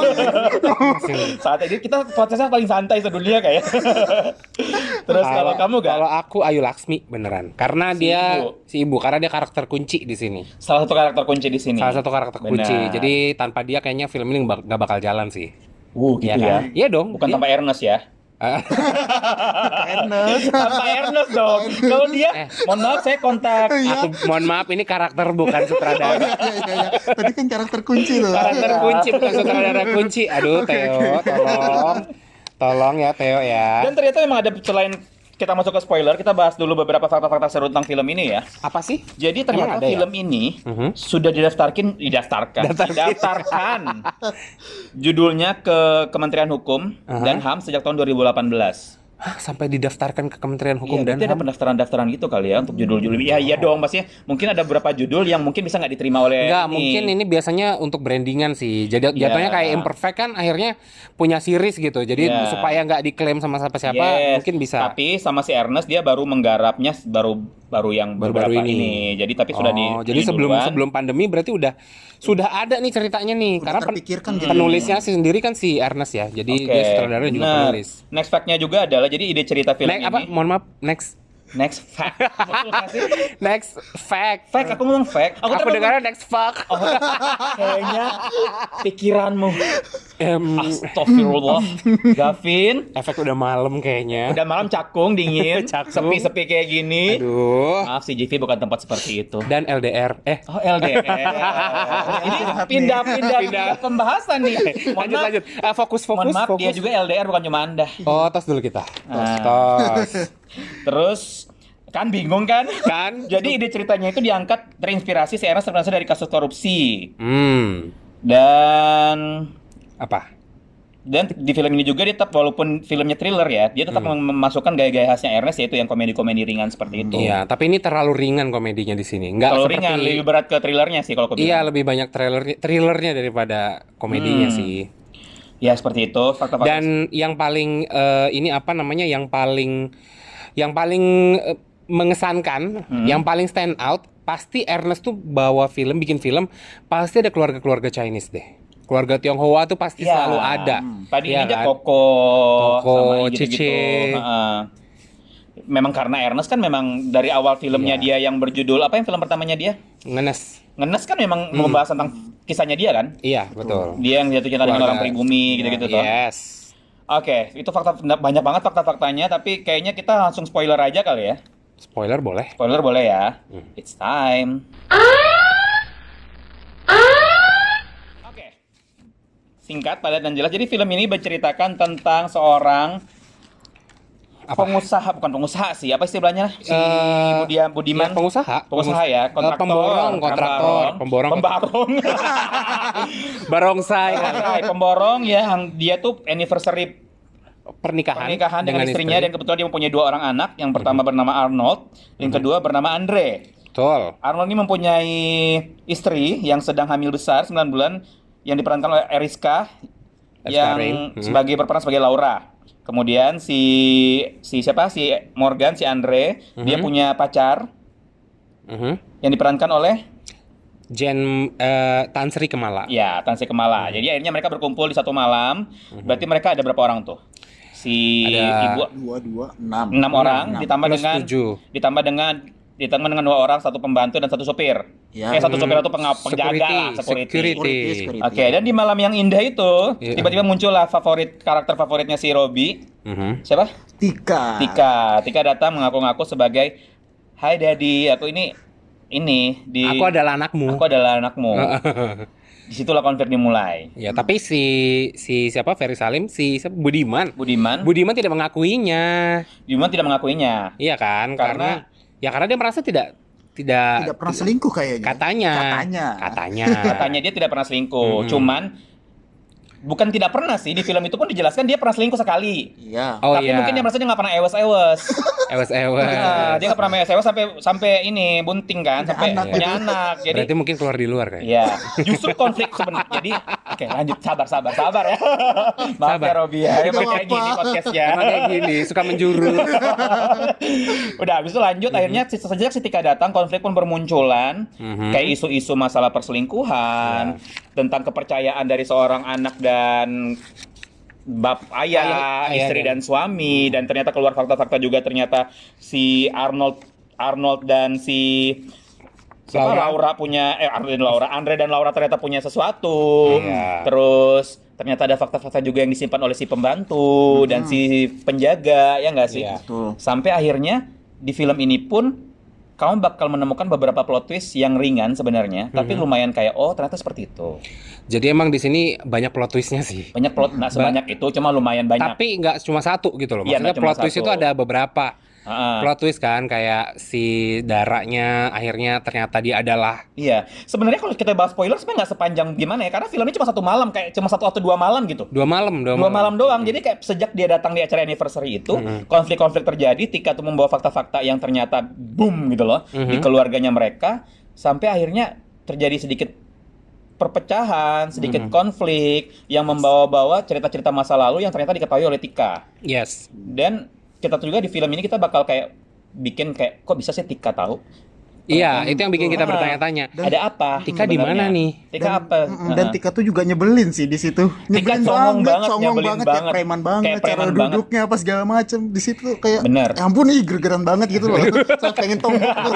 S2: Saat ini kita podcastnya paling santai sedunia kayak. Terus kalau kamu gak
S1: Kalau aku Ayu Laksmi beneran. Karena
S2: Si
S1: dia
S2: ibu.
S1: si ibu, karena dia karakter kunci di sini.
S2: salah satu karakter kunci di sini.
S1: Salah satu karakter
S2: Benar.
S1: kunci. Jadi tanpa dia kayaknya film ini bak- nggak bakal jalan sih.
S2: Wuh
S1: Iya
S2: gitu ya.
S1: kan? Iya dong. Dia-
S2: Bukan tanpa Ernest ya.
S1: Ah,
S5: Enak.
S2: Tanpa Ernest dong. Kalau
S1: Eh.
S2: dia, mohon maaf saya kontak.
S1: aku mohon maaf ini karakter bukan
S2: Oh,
S1: sutradara.
S5: Iya, iya, iya. Tadi kan karakter kunci loh.
S1: karakter kunci bukan sutradara kunci. Aduh Theo, tolong. Tolong ya Theo ya.
S2: Dan ternyata memang ada selain kita masuk ke spoiler, kita bahas dulu beberapa fakta-fakta seru tentang film ini ya.
S1: Apa sih?
S2: Jadi
S1: Emang
S2: ternyata
S1: ada ya?
S2: film ini
S1: Mhm.
S2: sudah didaftarkan, didaftarkan, didaftarkan judulnya ke Kementerian Hukum
S1: Aha.
S2: dan HAM sejak tahun 2018.
S1: Hah, Ah, sampai didaftarkan ke Kementerian Hukum
S2: Iya,
S1: dan
S2: berarti ada
S1: HAM.
S2: pendaftaran-daftaran gitu kali ya untuk judul-judul. Iya, iya dong. Maksudnya mungkin ada beberapa judul yang mungkin bisa nggak diterima oleh
S1: Enggak, mungkin ini biasanya untuk brandingan sih. Jadi jatuhnya
S2: Iya.
S1: kayak imperfect kan akhirnya punya series gitu. Jadi
S2: Iya.
S1: supaya nggak diklaim sama siapa-siapa
S2: Yes,
S1: mungkin bisa.
S2: Tapi sama si Ernest dia baru menggarapnya baru baru yang
S1: Baru-baru
S2: beberapa
S1: ini.
S2: ini. Jadi tapi sudah di
S1: Oh, jadi
S2: di
S1: sebelum
S2: duluan.
S1: sebelum pandemi berarti udah sudah ada nih ceritanya nih. Karena pen-
S5: terpikirkan gitu.
S1: penulisnya sih sendiri kan si Ernest ya. Jadi dia
S2: Oke,
S1: sutradara juga
S2: benar.
S1: penulis.
S2: Next fact-nya juga adalah jadi ide cerita film
S1: Next
S2: ini.
S1: apa? Mohon maaf, next
S2: Next fact. Betul nggak sih?
S1: next fact.
S2: Fact, aku ngomong fact.
S1: Aku,
S2: terlalu-
S1: dengarnya next fuck.
S2: Oh, kayaknya pikiranmu.
S1: Em,
S2: Astagfirullah. Gavin,
S1: efek udah malam kayaknya.
S2: udah malam cakung dingin,
S1: Cakung.
S2: sepi-sepi kayak gini.
S1: Aduh.
S2: Maaf si JV bukan tempat seperti itu.
S1: Dan LDR. Eh,
S2: Oh LDR. Ini pindah-pindah pembahasan nih. Mohon
S1: lanjut
S2: maaf-
S1: lanjut. Eh, fokus
S2: Mohon
S1: fokus
S2: maaf,
S1: fokus.
S2: dia juga LDR bukan cuma Anda.
S1: Oh, tos dulu kita. Tos,
S2: Ah.
S1: tos.
S2: Terus kan bingung kan?
S1: Kan.
S2: Jadi ide ceritanya itu diangkat terinspirasi si Ernest berasal dari kasus korupsi
S1: Hmm.
S2: dan
S1: Apa?
S2: dan di film ini juga dia tetap walaupun filmnya thriller ya, dia tetap
S1: Hmm.
S2: mem- memasukkan gaya-gaya khasnya Ernest yaitu yang komedi-komedi ringan seperti itu.
S1: Iya, tapi ini terlalu ringan komedinya di sini. Enggak
S2: Kalau
S1: seperti
S2: ringan lebih berat ke thrillernya sih kalau
S1: Iya,
S2: aku bilang.
S1: lebih banyak trailer thrillernya daripada komedinya
S2: Hmm.
S1: sih.
S2: Ya seperti itu fakta-fakta.
S1: Dan yang paling eh, ini apa namanya? Yang paling yang paling eh, mengesankan,
S2: Hmm.
S1: yang paling stand out pasti Ernest tuh bawa film bikin film pasti ada keluarga-keluarga Chinese deh. Keluarga Tionghoa tuh pasti
S2: Ya.
S1: selalu ada.
S2: Tadi
S1: Iya
S2: ini dia
S1: kan?
S2: Koko,
S1: Koko,
S2: gitu-gitu.
S1: Cece.
S2: Heeh. Memang karena Ernest kan memang dari awal
S1: Iya.
S2: filmnya dia yang berjudul apa yang film pertamanya dia?
S1: ngenes
S2: Ngenes kan memang
S1: Hmm.
S2: membahas tentang kisahnya dia kan?
S1: iya betul
S2: Dia yang jatuh cinta dengan
S1: Keluarga.
S2: orang pribumi gitu-gitu
S1: Ya,
S2: toh.
S1: yes
S2: Oke, itu fakta banyak banget fakta-faktanya tapi kayaknya kita langsung spoiler aja kali ya.
S1: spoiler boleh
S2: Spoiler boleh ya.
S1: Hmm.
S2: It's time. Oke. Singkat, padat dan jelas. Jadi film ini berceritakan tentang seorang
S1: Apa?
S2: pengusaha, bukan pengusaha sih, apa istilahnya? Si
S1: Eh,
S2: Budia-
S1: ya,
S2: Budiman.
S1: pengusaha
S2: pengusaha ya,
S1: Pengus- eh,
S2: kontraktor,
S1: pemborong kontraktor
S2: pemborong,
S1: pemborong
S2: pemborong,
S1: barongsai kan.
S2: Iya, pemborong ya, yang dia tuh anniversary
S1: pernikahan,
S2: pernikahan dengan, istrinya dan kebetulan dia mempunyai dua orang anak yang pertama bernama Arnold yang
S1: Mhm.
S2: kedua bernama Andre
S1: betul
S2: Arnold ini mempunyai istri yang sedang hamil besar 9 bulan yang diperankan oleh Eriska
S1: Eriska
S2: yang
S1: Rein, hmm.
S2: sebagai berperan sebagai Laura. Kemudian si si siapa si Morgan si Andre dia
S1: Mhm.
S2: punya pacar
S1: Mhm.
S2: yang diperankan oleh
S1: Jen eh, Tan Sri Kemala
S2: ya Tansi
S1: Mhm.
S2: Kemala. Jadi akhirnya mereka berkumpul di satu malam. Berarti mereka ada berapa orang tuh? Si
S1: Ada
S2: ibu
S5: dua dua enam
S2: enam orang ditambah
S1: Plus
S2: dengan
S1: tujuh.
S2: ditambah dengan ditambah dengan dua orang satu pembantu dan satu sopir.
S5: Ya.
S2: Eh satu sopir atau pengap
S1: Security,
S2: penjaga lah security.
S5: Security,
S1: security.
S5: security.
S2: Oke, dan di malam yang indah itu
S1: Iya.
S2: tiba-tiba muncullah favorit karakter favoritnya si Robby.
S1: Mhm.
S2: Siapa?
S5: tiga
S2: Tika. Tika datang mengaku-ngaku sebagai Hai Daddy, aku ini ini di
S1: Aku Ah, adalah anakmu.
S2: Aku adalah anakmu. Disitulah konflik dimulai.
S1: ya, tapi si si siapa Ferry Salim, si siapa? Budiman.
S2: Budiman,
S1: Budiman tidak mengakuinya.
S2: Budiman tidak mengakuinya.
S1: Iya kan?
S2: Karena-
S1: Karena, ya karena dia merasa tidak tidak,
S5: tidak pernah selingkuh kayaknya
S1: katanya.
S5: Katanya.
S1: Katanya.
S2: Katanya dia tidak pernah selingkuh,
S1: Mhm.
S2: cuman bukan tidak pernah sih di film itu pun dijelaskan dia pernah selingkuh sekali.
S5: iya
S1: Oh
S2: Tapi
S1: iya. Eh,
S2: mungkin dia merasa dia nggak pernah ewes-ewes.
S1: Ewas ewas.
S2: Nah, dia nggak pernah ewes-ewes sampai sampai ini bunting kan,
S5: Punya
S2: sampai
S5: anak
S2: punya anak. Jadi
S1: Berarti mungkin keluar di luar ya? kayak.
S2: Iya, justru konflik sebenarnya. Jadi, oke lanjut sabar sabar sabar ya. Maaf ya
S1: Sabar.
S2: Robi ya,
S5: Gak
S2: emang kayak
S5: apa-apa.
S2: gini podcast ya.
S1: Emang kayak gini, suka menjurus.
S2: Udah habis itu lanjut akhirnya si- sejak ketika datang konflik pun bermunculan
S1: Mhm. Iya.
S2: kayak isu-isu masalah perselingkuhan, tentang kepercayaan dari seorang anak dan bab
S1: Ayah-
S2: ayah,
S1: ayah
S2: istri dan
S1: dan-
S2: suami dan ternyata keluar fakta-fakta juga ternyata si Arnold Arnold dan si Siapa
S1: Laura.
S2: Laura punya eh Andre dan Laura, Andre dan Laura ternyata punya sesuatu.
S1: Iya.
S2: Terus ternyata ada fakta-fakta juga yang disimpan oleh si pembantu dan si penjaga, ya nggak sih?
S1: Mhm. Iya.
S5: Betul.
S2: Sampai akhirnya di film ini pun kamu bakal menemukan beberapa plot twist yang ringan sebenarnya, tapi
S1: Mhm.
S2: lumayan kayak oh ternyata seperti itu.
S1: Jadi emang di sini banyak plot twistnya sih.
S2: Banyak plot nggak sebanyak itu, cuma lumayan banyak.
S1: Tapi nggak cuma satu gitu loh.
S2: Iya,
S1: Maksudnya
S2: nggak cuma
S1: plot twist
S2: satu.
S1: itu ada beberapa.
S2: Ah,
S1: plot twist kan kayak si darahnya akhirnya ternyata dia adalah
S2: Iya, sebenarnya kalau kita bahas spoiler sebenarnya nggak sepanjang gimana ya, karena filmnya cuma satu malam, kayak cuma satu atau dua malam gitu.
S1: dua malam dua,
S2: dua malam doang jadi kayak sejak dia datang di acara anniversary itu konflik-konflik terjadi Tika tuh membawa fakta-fakta yang ternyata boom gitu loh
S1: Mhm.
S2: di keluarganya mereka sampai akhirnya terjadi sedikit perpecahan sedikit konflik yang membawa-bawa cerita-cerita masa lalu yang ternyata diketahui oleh Tika Oh,
S1: yes
S2: dan kita tuh juga di film ini kita bakal kayak bikin kayak kok bisa sih Tika tahu
S1: iya itu yang bikin kita
S2: Ah,
S1: bertanya-tanya
S2: ada apa
S1: Tika di
S2: sebenarnya?
S1: mana nih?
S2: Tika apa
S5: mm, dan
S2: Ah.
S5: Tika tuh juga nyebelin sih di situ.
S2: Tika
S5: Nyebelin
S2: songong banget,
S5: songong
S2: nyebelin
S5: banget,
S2: banget.
S5: kayak preman banget,
S2: Kayak
S5: cara
S2: preman banget.
S5: duduknya apa segala macem di situ tuh kayak
S2: Bener.
S5: ya ampun ih gergeran banget gitu loh. Saya pengen tombol.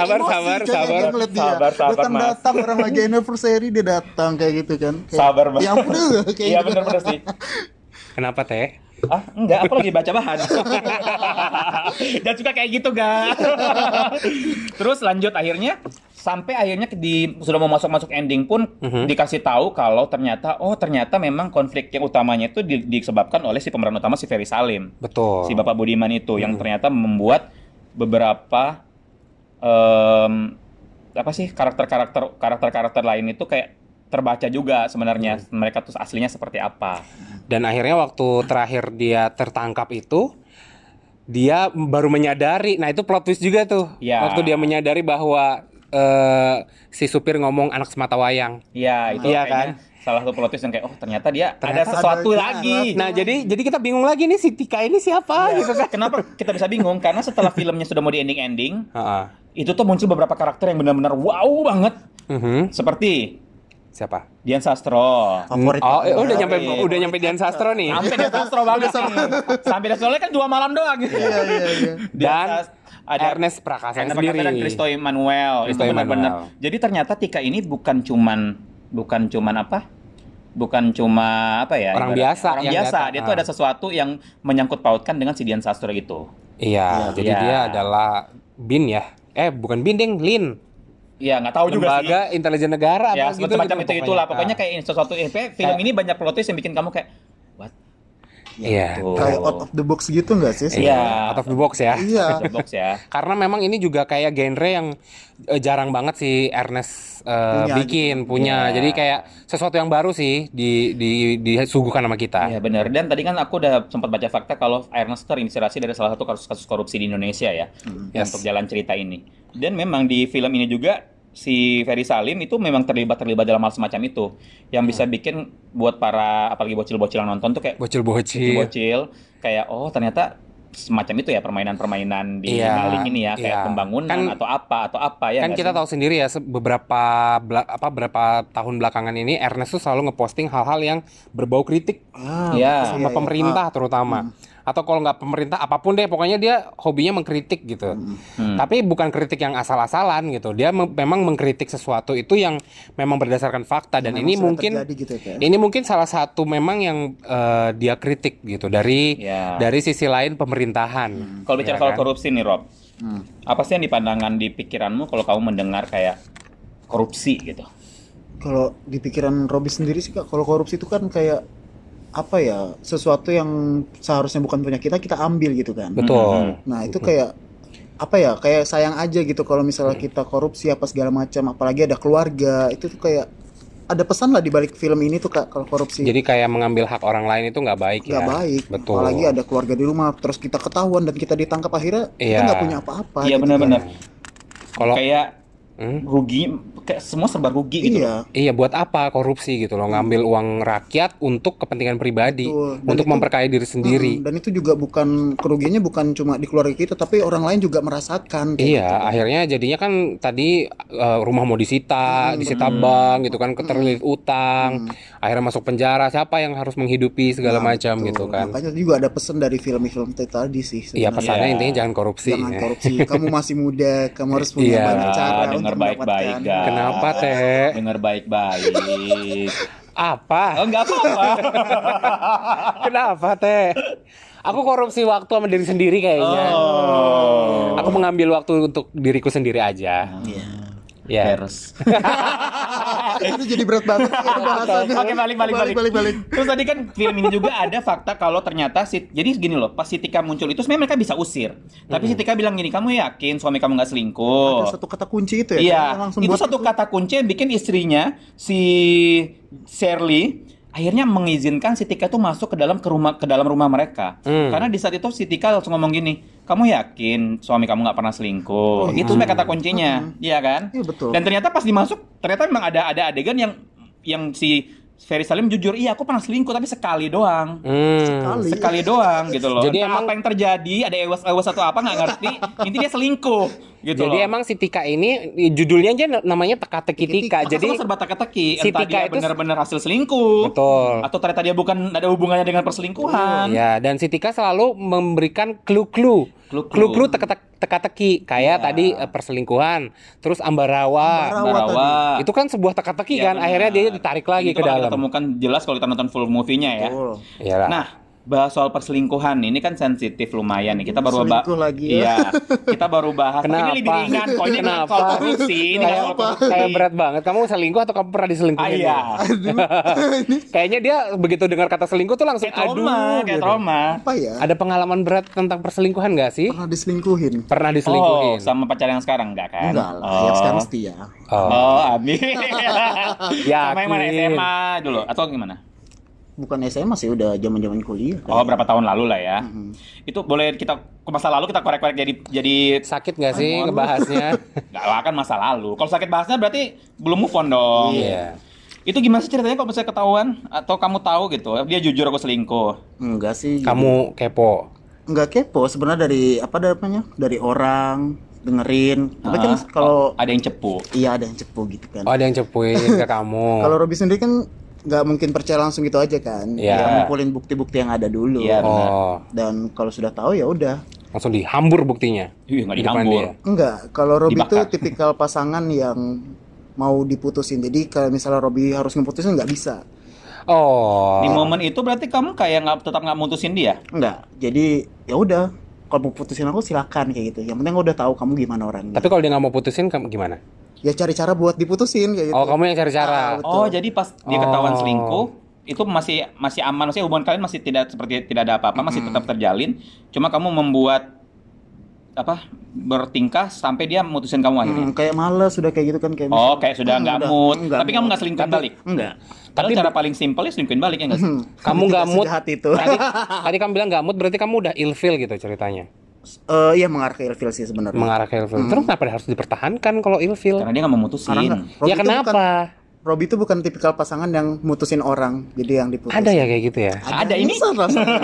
S1: Sabar,
S5: Emosi,
S1: sabar,
S5: jangan
S1: sabar.
S5: ngeliat dia.
S2: Sabar, sabar,
S5: datang
S2: Mas.
S5: datang orang lagi anniversary dia datang kayak gitu kan. Kayak,
S2: sabar banget
S5: Ya ampun eh, kayak
S2: iya
S5: gitu.
S2: bener-bener sih
S1: kenapa teh
S2: Ah, enggak, aku lagi baca bahan. Dan suka kayak gitu, ga. Terus lanjut akhirnya sampai akhirnya di sudah mau masuk-masuk ending pun
S1: Mhm.
S2: dikasih tahu kalau ternyata oh ternyata memang konflik yang utamanya itu di- disebabkan oleh si pemeran utama si Ferry Salim.
S1: betul
S2: Si Bapak Budiman itu yang ternyata membuat beberapa em, apa sih karakter-karakter karakter-karakter lain itu kayak terbaca juga sebenarnya mereka tuh aslinya seperti apa.
S1: dan akhirnya waktu terakhir dia tertangkap itu dia baru menyadari nah itu plot twist juga tuh
S2: Ya.
S1: waktu dia menyadari bahwa eh, si supir ngomong anak semata wayang
S2: Iya, itu
S1: Iya
S2: kayaknya salah satu plot twist yang kayak oh ternyata dia ada
S1: Ternyata
S2: sesuatu
S5: ada-
S2: lagi. Iya. Oh,
S1: nah jadi jadi kita bingung lagi nih si Tika ini siapa gitu kan
S2: Kenapa kita bisa bingung? Karena setelah filmnya sudah mau di ending-ending,
S1: Heeh.
S2: itu tuh muncul beberapa karakter yang benar-benar wow banget.
S1: Mhm.
S2: Seperti
S1: Siapa?
S2: Dian Sastro.
S5: Favorit.
S1: Oh, eh, udah nyampe
S2: Favorit.
S1: udah nyampe Dian Sastro nih.
S2: Sampai Dian Sastro banget nih. Sampai Dian Sastro kan dua malam doang.
S5: Iya iya iya.
S1: Dan
S2: ada
S1: Ernest Prakasa
S2: Karena
S1: sendiri.
S2: dan Kristo Emmanuel itu
S1: Christo
S2: benar-benar.
S1: Emmanuel.
S2: Jadi ternyata Tika ini bukan cuman bukan cuman apa? Bukan cuma apa ya?
S1: Orang
S2: ibaratnya.
S1: biasa
S2: Orang
S1: yang
S2: biasa.
S1: datang.
S2: Dia tuh
S1: Ah.
S2: ada sesuatu yang menyangkut pautkan dengan si Dian Sastro gitu.
S1: Iya, jadi
S2: Iya.
S1: dia adalah Bin ya. Eh, bukan Bin, ding, Lin.
S2: Iya nggak tahu juga sih.
S1: Lembaga intelijen negara
S2: Ya
S1: apa gitu.
S2: semacam
S1: gitu Ah.
S2: itu itulah. Pokoknya kayak ini sesuatu eh, film
S1: Kayak-
S2: ini banyak plot twist yang bikin kamu kayak what?
S1: Iya.
S2: Tuh.
S5: Kayak out of the box gitu nggak sih?
S1: Iya,
S2: gitu. Oh. Iya.
S1: out of the box ya.
S5: Iya.
S2: Out of box ya.
S1: Karena memang ini juga kayak genre yang eh, jarang banget si Ernest eh,
S5: Punya
S1: bikin punya.
S2: Iya.
S1: Jadi kayak sesuatu yang baru sih di di disuguhkan sama kita.
S2: Iya benar. Dan tadi kan aku udah sempat baca fakta kalau Ernest terinspirasi dari salah satu kasus-kasus korupsi di Indonesia ya
S1: Hmm. Yes.
S2: untuk jalan cerita ini. Dan memang di film ini juga si Ferry Salim itu memang terlibat terlibat dalam hal semacam itu yang
S1: Hmm.
S2: bisa bikin buat para apalagi bocil-bocil yang nonton tuh kayak
S1: Bocil-bocil.
S2: bocil kayak oh ternyata semacam itu ya permainan-permainan di
S1: Iya,
S2: maling ini ya kayak
S1: iya.
S2: pembangunan
S1: Kan-
S2: atau apa atau apa ya
S1: kan
S2: nggak
S1: kita
S2: sih?
S1: tahu sendiri ya se- beberapa bela- apa beberapa tahun belakangan ini Ernest tuh selalu ngeposting hal-hal yang berbau kritik sama
S2: Iya.
S5: Ah, bagus. Iya, Hmm. iya.
S1: pemerintah terutama atau kalau nggak pemerintah apapun deh pokoknya dia hobinya mengkritik gitu
S2: Hmm.
S1: tapi bukan kritik yang asal-asalan gitu dia mem- memang mengkritik sesuatu itu yang memang berdasarkan fakta dan
S5: Memang
S1: ini
S5: sudah
S1: mungkin
S5: terjadi gitu ya, Kak?
S1: ini mungkin salah satu memang yang eh, dia kritik gitu dari
S2: Iya.
S1: dari sisi lain pemerintahan
S2: Kalau bicara
S1: Ya
S2: soal
S1: kan?
S2: korupsi nih Rob,
S5: Hmm.
S2: apa sih yang di pandangan di pikiranmu kalau kamu mendengar kayak korupsi gitu?
S5: kalau di pikiran Robi sendiri sih kak kalau korupsi itu kan kayak apa ya sesuatu yang seharusnya bukan punya kita kita ambil gitu kan
S1: betul Iya.
S2: Mhm.
S5: nah itu kayak apa ya kayak sayang aja gitu kalau misalnya kita korupsi apa segala macam apalagi ada keluarga itu tuh kayak ada pesan lah di balik film ini tuh kak kalau korupsi
S1: Jadi kayak mengambil hak orang lain itu nggak baik
S5: nggak
S1: ya.
S5: baik
S1: Betul.
S5: apalagi ada keluarga di rumah terus kita ketahuan dan kita ditangkap akhirnya kita
S1: Iya.
S5: nggak punya apa-apa
S2: Iya
S5: gitu
S2: benar-benar.
S5: kan.
S1: Kalau
S2: Kayak
S1: Hmm?
S2: rugi, kayak semua serba rugi gitu.
S5: iya
S1: iya buat apa korupsi gitu loh ngambil uang rakyat untuk kepentingan pribadi,
S5: Hmm. Betul. Dan
S1: untuk
S5: itu-
S1: memperkaya diri sendiri.
S5: Mm, dan itu juga bukan kerugiannya bukan cuma di keluarga kita tapi orang lain juga merasakan kayak
S1: Iya,
S5: gitu kan.
S1: akhirnya jadinya kan tadi eh, rumah mau disita,
S5: Hmm,
S1: disita
S2: betul.
S1: bank gitu kan, keterlilit utang,
S5: Hmm.
S1: akhirnya masuk penjara, siapa yang harus menghidupi segala
S5: Nah,
S1: macam
S5: betul.
S1: gitu kan.
S5: Makanya juga ada pesan dari film-film t- tadi sih.
S1: Iya,
S5: sebenarnya.
S1: pesannya
S2: Iya.
S1: intinya jangan korupsi.
S5: Jangan
S1: ya.
S5: korupsi. Kamu masih muda, kamu harus punya
S1: Iya,
S5: banyak cara
S2: dengar
S5: untuk
S2: Ya, baik-baik,
S5: mendapatkan.
S2: guys.
S1: Kenapa, Teh?
S2: Dengar baik-baik.
S1: Apa?
S2: Oh, enggak apa-apa.
S1: Kenapa, Teh? Aku korupsi waktu sama diri sendiri kayaknya.
S2: Oh.
S1: Aku mengambil waktu untuk diriku sendiri aja.
S5: Iya.
S1: Ya.
S2: Terus.
S5: Itu jadi berat banget ya, bahasannya.
S2: Oke, balik, balik, balik.
S5: balik, balik.
S2: Terus tadi kan film ini juga ada fakta kalau ternyata si jadi gini loh, pas si Tika muncul itu sebenarnya mereka bisa usir. Tapi si Tika bilang gini, "Kamu yakin suami kamu nggak selingkuh?"
S5: Ada satu kata kunci itu ya.
S2: Oh. Iya,
S5: kan, yang langsung
S2: itu
S5: buat
S2: satu kata kunci yang bikin istrinya si Shirley akhirnya mengizinkan si Tika tuh masuk ke dalam ke rumah ke dalam rumah mereka.
S1: Hmm.
S2: Karena di saat itu si Tika langsung ngomong gini, "Kamu yakin suami kamu nggak pernah selingkuh?"
S5: Oh,
S2: itu
S5: iya.
S2: sebenarnya kata kuncinya, iya kan?
S5: Iya, betul.
S2: Dan ternyata pas dimasuk, ternyata memang ada ada adegan yang yang si Ferry Salim jujur, "Iya, aku pernah selingkuh tapi sekali doang."
S1: Hmm.
S5: Sekali.
S2: sekali doang gitu loh.
S1: Jadi
S2: Entah
S1: emang-
S2: apa yang terjadi, ada ewas-ewas atau apa nggak ngerti. Intinya dia selingkuh gitu
S1: Jadi
S2: loh.
S1: emang si Tika ini judulnya aja namanya teka-teki Tika.
S5: Teka-teki.
S1: Jadi
S2: Jadi serba teka-teki,
S1: si
S2: entah
S1: Tika
S2: dia
S1: itu-
S2: benar-benar hasil selingkuh.
S1: Betul.
S2: Atau ternyata dia bukan ada hubungannya dengan perselingkuhan.
S1: ya dan si Tika selalu memberikan clue-clue.
S2: Clue-clue.
S1: Clue-clue teka- teka-teki kayak
S2: Iya.
S1: tadi eh, perselingkuhan, terus ambarawa.
S5: Ambarawa.
S2: Barawa.
S1: Itu kan sebuah teka-teki kan.
S2: Ya, benar.
S1: Akhirnya dia ditarik lagi ke
S2: Itu bakal
S1: dalam. Iya
S2: Kita temukan jelas kalau kita nonton full movie-nya ya.
S5: Betul.
S1: Iyalah.
S2: Nah, bahas soal perselingkuhan ini kan sensitif lumayan nih. Kita baru bahas
S5: Selingkuh lagi ya.
S2: Iya. Kita baru bahas. Tapi
S1: Kenapa?
S2: Ini lebih ringan kok. Ini bukan
S1: Kenapa?
S2: soal korupsi, ini nggak soal
S1: kayak,
S2: korupsi.
S1: kayak berat banget. Kamu selingkuh atau kamu pernah
S2: Ah,
S1: diselingkuhin? ya?
S2: iya.
S1: Kayaknya dia begitu dengar kata selingkuh tuh langsung
S2: Kayak trauma,
S1: aduh.
S2: kayak
S1: gitu.
S2: trauma.
S5: Apa ya?
S1: Ada pengalaman berat tentang perselingkuhan gak sih?
S5: Pernah diselingkuhin?
S1: Pernah
S2: Oh,
S1: diselingkuhin.
S2: sama pacar yang sekarang enggak kan?
S5: Enggak lah,
S2: Oh.
S5: yang sekarang mesti ya.
S1: Oh.
S2: Oh, amin.
S1: Yakin.
S2: Sama yang mana SMA dulu atau gimana?
S5: Bukan SMA sih, udah zaman-zaman kuliah.
S2: Oh, berapa tahun lalu lah ya.
S1: Mm-hmm.
S2: Itu boleh kita ke masa lalu kita korek-korek jadi jadi
S1: Sakit gak sih
S5: Aduh.
S1: ngebahasnya?
S2: nggak lah kan masa lalu. Kalau sakit bahasnya berarti belum move on dong.
S1: Iya.
S2: Itu gimana sih ceritanya kalau misalnya ketahuan atau kamu tahu gitu? Dia jujur aku selingkuh.
S5: Enggak sih.
S1: Kamu kepo.
S5: nggak kepo sebenarnya dari apa namanya dari orang dengerin tapi kan
S2: Ah, oh,
S5: kalau
S2: ada yang cepu.
S5: iya ada yang cepu gitu kan
S1: Oh ada yang cepuin ke kamu.
S5: kalau Robi sendiri kan nggak mungkin percaya langsung gitu aja kan
S1: Iya.
S5: Dia ngumpulin bukti-bukti yang ada dulu
S2: Iya.
S1: Oh
S5: dan kalau sudah tahu ya udah
S1: langsung dihambur buktinya.
S2: Ih, nggak
S1: Di depan
S2: dihambur.
S1: dia.
S5: Enggak, kalau Robi
S2: Dibakar.
S5: tuh tipikal pasangan yang mau diputusin. Jadi kalau misalnya Robi harus ngeputusin nggak bisa.
S1: Oh.
S2: Di momen itu berarti kamu kayak nggak tetap nggak mutusin dia.
S5: Enggak. Jadi ya udah, kalau mau putusin aku silakan kayak gitu. Yang penting udah tahu kamu gimana orangnya.
S1: Tapi kalau dia nggak mau putusin kamu gimana?
S5: ya cari cara buat diputusin kayak gitu.
S1: Oh kamu yang cari
S5: Ah,
S1: cara.
S5: betul.
S2: Oh, jadi pas dia ketahuan
S1: Oh.
S2: selingkuh itu masih masih aman, maksudnya hubungan kalian masih tidak seperti tidak ada apa-apa, masih tetap terjalin. Cuma kamu membuat apa bertingkah sampai dia memutusin kamu akhirnya.
S5: Hmm, kayak males sudah kayak gitu kan kayak
S2: Oh, kayak sudah nggak mood. Tapi kamu nggak selingkuh
S5: selingkuh
S2: balik.
S5: Enggak.
S2: Tapi cara paling simpel ya selingkuhin balik ya nggak sih?
S1: Kamu nggak mood.
S5: hati itu.
S1: Tadi, tadi kamu bilang nggak mood berarti kamu udah ilfil gitu ceritanya.
S5: Eh iya mengarah ke ilfil sih sebenarnya.
S1: Mengarah ke ilfil. Terus kenapa harus dipertahankan kalau ilfil?
S2: Karena dia nggak memutusin.
S5: Karena nggak- Robi
S1: Ya
S5: tuh bukan-
S1: kenapa?
S5: Robi itu bukan tipikal pasangan yang mutusin orang, jadi yang diputusin.
S1: Ada ya kayak gitu ya.
S2: Ada ini?
S5: Masa rasanya?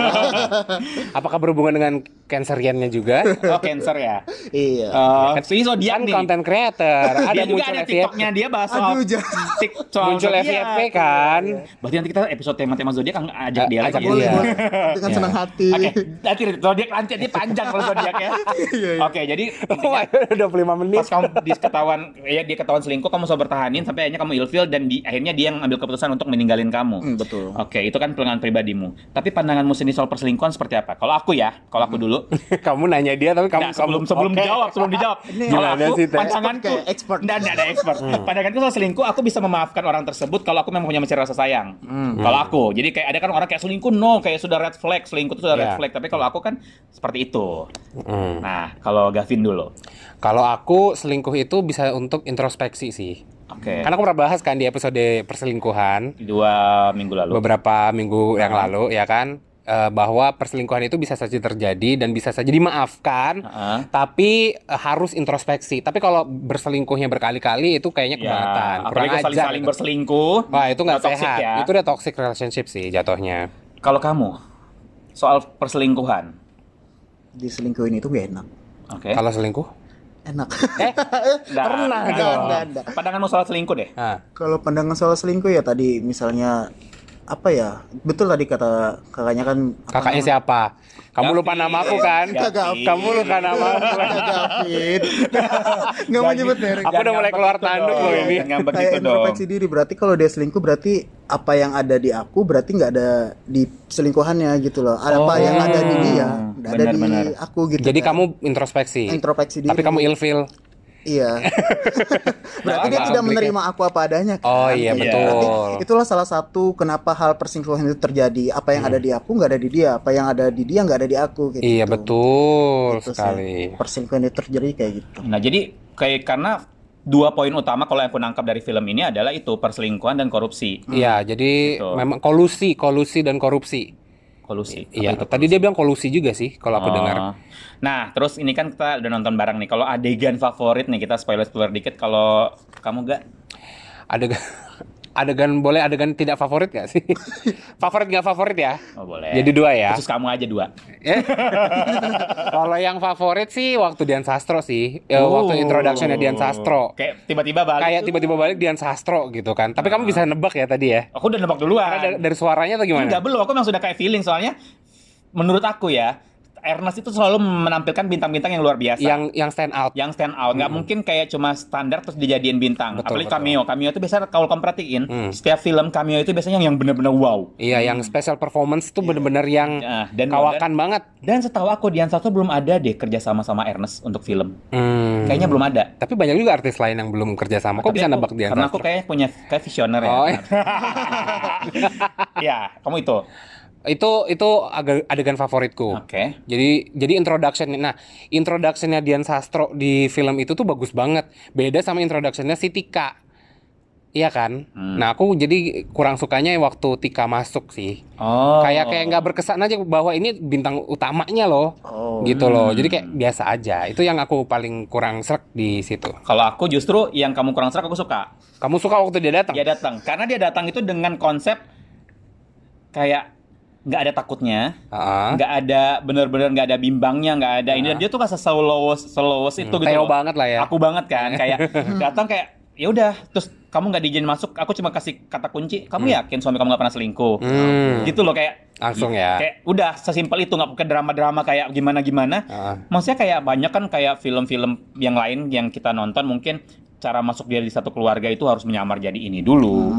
S1: Apakah berhubungan dengan canceriannya juga?
S2: Oh, cancer ya.
S5: iya.
S2: Eh, si
S1: Kan
S2: zodiak nih.
S1: content creator. Ada
S2: dia juga
S1: muncul ya,
S2: ada
S1: FYP.
S2: TikToknya dia bahas soal
S5: Aduh, jangan.
S2: tik- soal
S1: Muncul ya,
S2: zodiak.
S1: FYP kan.
S2: Berarti nanti kita episode tema-tema zodiak ang- ajak dia
S1: Eh,
S2: lagi.
S1: ajak
S2: ya?
S1: boleh,
S2: Iya.
S1: boleh.
S5: dengan
S2: Iya.
S5: senang hati.
S2: Oke, nanti zodiak nanti dia panjang kalau zodiak ya.
S5: Iya,
S2: Oke, jadi
S1: Oh my God, udah 25 menit.
S2: pas kamu di ketahuan ya dia ketahuan selingkuh kamu bisa bertahanin sampai akhirnya kamu ilfil dan di, akhirnya dia yang ambil keputusan untuk meninggalin kamu.
S5: Hmm, betul.
S2: Oke, itu kan pelengan pribadimu. Tapi pandanganmu sendiri soal perselingkuhan seperti apa? Kalau aku ya, kalau
S5: Hmm.
S2: aku dulu,
S1: kamu nanya dia tapi kamu
S2: Nggak, sebelum sebelum dijawab, sebelum dijawab. Kalau
S1: Nggak ada
S2: aku
S1: sih, Teh.
S2: pandanganku
S5: Expert kayak expert.
S2: Nggak, nggak ada expert.
S1: Hmm.
S2: Pandanganku soal selingkuh, aku bisa memaafkan orang tersebut kalau aku memang punya mencari rasa sayang. Kalau aku, jadi kayak ada kan orang kayak selingkuh no, kayak sudah red flag, selingkuh itu sudah red
S1: Iya.
S2: flag. Tapi kalau aku kan seperti itu.
S1: Hmm.
S2: Nah, kalau Gavin dulu.
S1: Kalau aku selingkuh itu bisa untuk introspeksi sih.
S2: Oke.
S1: Karena aku pernah bahas kan di episode perselingkuhan
S2: Dua minggu lalu.
S1: beberapa minggu yang lalu ya kan eh, bahwa perselingkuhan itu bisa saja terjadi dan bisa saja dimaafkan.
S2: Heeh.
S1: Tapi eh, harus introspeksi. Tapi kalau berselingkuhnya berkali-kali itu kayaknya kebangetan.
S2: Ya,
S1: Kurang
S2: apalagi kalau
S1: ajar
S2: saling-saling
S1: gitu.
S2: berselingkuh.
S1: Wah, itu nggak
S2: nggak toxic
S1: sehat.
S2: ya.
S1: Itu udah toxic relationship sih jatuhnya.
S2: Kalau kamu soal perselingkuhan,
S5: Diselingkuhin itu gak enak.
S2: oke.
S1: Kalau selingkuh?
S5: Enak.
S1: Eh,
S2: Nggak,
S1: pernah
S2: nggak
S1: dong.
S2: dong.
S5: Nggak, nggak.
S2: Pandanganmu soal selingkuh deh.
S1: ah,
S5: Kalau pandangan soal selingkuh ya tadi misalnya apa ya? Betul tadi kata kakaknya kan apa
S1: kakaknya
S5: namanya?
S1: siapa? Kamu
S2: Gavin.
S1: lupa nama aku kan?
S2: Gavin.
S1: Kamu lupa nama aku.
S5: Kakak David. Enggak mau nyebut merek. ya.
S1: Aku udah mulai keluar tanduk
S2: Oh,
S1: loh ini.
S2: Jangan begitu
S1: gitu
S5: Kayak
S2: gitu dong.
S5: introspeksi diri berarti kalau dia selingkuh berarti apa yang ada di aku berarti nggak ada di selingkuhannya gitu loh. Ada apa
S2: Oh.
S5: yang ada di dia? Nggak ada di
S2: Benar-benar.
S5: aku gitu.
S1: Jadi
S5: kan.
S1: kamu introspeksi.
S5: Introspeksi diri.
S1: Tapi kamu ilfil.
S5: Iya. Berarti dia
S1: Agak
S5: tidak
S1: komplik
S5: menerima aku apa adanya kan.
S1: Oh iya
S2: Iya.
S1: betul.
S5: Itulah salah satu kenapa hal perselingkuhan itu terjadi. Apa yang ada di aku nggak ada di dia, apa yang ada di dia nggak ada di aku. Kayak
S1: Hmm. Iya
S5: gitu.
S1: betul
S5: Itu Gitu sih,
S1: sekali.
S5: Perselingkuhan itu terjadi kayak gitu.
S2: Nah, jadi kayak karena dua poin utama kalau yang aku nangkap dari film ini adalah itu perselingkuhan dan korupsi.
S1: Iya, jadi
S2: Gitu.
S1: memang kolusi, kolusi dan korupsi.
S2: Kolusi. Apa
S1: Iya,
S2: itu?
S1: tadi dia bilang kolusi juga sih kalau aku
S2: Oh.
S1: dengar.
S2: Nah, terus ini kan kita udah nonton bareng nih. Kalau adegan favorit nih kita spoiler spoiler dikit kalau kamu gak
S1: Adegan adegan boleh adegan tidak favorit gak sih? favorit nggak favorit ya?
S2: Oh, boleh.
S1: Jadi dua ya.
S2: Terus kamu aja dua.
S1: Eh. kalau yang favorit sih waktu Dian Sastro sih. Ya, Waktu
S2: Oh.
S1: introductionnya Dian Sastro.
S2: Kayak tiba-tiba balik.
S1: Kayak
S2: tuh.
S1: tiba-tiba balik Dian Sastro gitu kan. Tapi kamu bisa nebak ya tadi ya?
S2: Aku udah nebak duluan.
S1: Karena dari, dari suaranya atau gimana?
S2: Ah. Enggak belum, aku memang sudah kayak feeling soalnya menurut aku ya, Ernest itu selalu menampilkan bintang-bintang yang luar biasa.
S1: Yang yang stand out.
S2: yang stand out nggak mungkin kayak cuma standar terus dijadiin bintang
S1: Hmm. Betul,
S2: apalagi
S1: betul.
S2: cameo cameo itu biasanya kalau kamu perhatiin
S1: Hmm.
S2: setiap film cameo itu biasanya yang bener-bener wow
S1: Iya, yang special performance tuh bener-bener yang
S2: Hmm. Iya. Ah, dan
S1: kawakan banget.
S2: dan setahu aku Dian Sastro belum ada deh kerja sama sama Ernest untuk film
S1: Hmm.
S2: kayaknya belum ada
S1: Tapi banyak juga artis lain yang belum kerja sama. Kok
S2: Tapi
S1: bisa
S2: aku-
S1: nebak dia?
S2: karena aku kayaknya punya kayak visioner ya
S1: Oh, iya.
S2: ya kamu itu
S1: itu itu aga- adegan favoritku.
S2: oke
S1: Jadi jadi introduction nah introductionnya Dian Sastro di film itu tuh bagus banget. Beda sama introductionnya si Tika. Iya kan?
S2: Hmm.
S1: Nah aku jadi kurang sukanya waktu Tika masuk sih.
S2: oh
S1: Kayak kayak nggak berkesan aja bahwa ini bintang utamanya loh.
S5: Oh.
S1: Gitu loh. Jadi kayak
S2: Hmm.
S1: biasa aja. Itu yang aku paling kurang serak di situ.
S2: kalau aku justru yang kamu kurang serak aku suka Ya.
S1: Kamu suka waktu dia datang?
S2: dia datang karena dia datang itu dengan konsep kayak nggak ada takutnya,
S1: Heeh.
S2: nggak ada bener-bener nggak ada bimbangnya, nggak ada ini
S1: Ah.
S2: dia tuh rasa selowos selowos itu gitu.
S1: Teo
S2: loh.
S1: banget lah ya. Hmm.
S2: Aku banget kan kayak datang kayak ya udah terus kamu nggak diizin masuk, aku cuma kasih kata kunci. Kamu yakin suami kamu nggak pernah selingkuh?
S1: Hmm.
S2: Gitu loh kayak
S1: Langsung ya.
S2: Kayak udah sesimpel itu nggak pakai drama-drama kayak gimana-gimana.
S1: Heeh.
S2: Maksudnya kayak banyak kan kayak film-film yang lain yang kita nonton mungkin cara masuk dia di satu keluarga itu harus menyamar jadi ini dulu,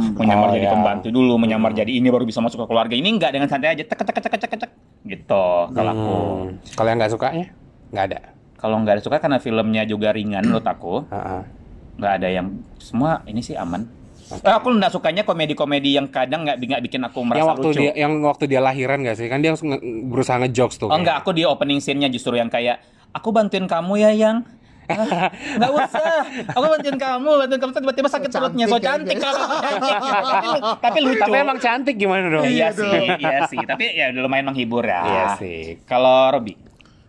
S1: Oh,
S2: menyamar jadi
S1: iya.
S2: pembantu dulu, menyamar jadi ini baru bisa masuk ke keluarga. Ini enggak dengan santai aja, cek cek cek cek cek cek gitu. Kalau aku,
S1: Hmm. Kalau yang nggak sukanya? Nggak ada.
S2: kalau nggak ada suka karena filmnya juga ringan menurut aku,
S1: Heeh.
S2: nggak ada yang semua ini sih aman. Eh, aku nggak sukanya komedi-komedi yang kadang nggak nggak bikin aku merasa
S1: Yang waktu
S2: lucu.
S1: dia yang waktu dia lahiran nggak sih? Kan dia nge- berusaha ngejokes tuh.
S2: Oh enggak, aku di opening scene-nya justru yang kayak aku bantuin kamu ya yang Ah, nggak usah aku bantuin kamu bantuin kamu tiba-tiba sakit
S5: So
S2: perutnya so
S5: cantik
S2: cantik
S5: ya,
S2: kalau tapi, lu- tapi lucu
S1: Tapi emang cantik gimana dong?
S2: iya sih iya sih tapi ya udah lumayan menghibur ya
S1: Iya sih.
S2: kalau Robi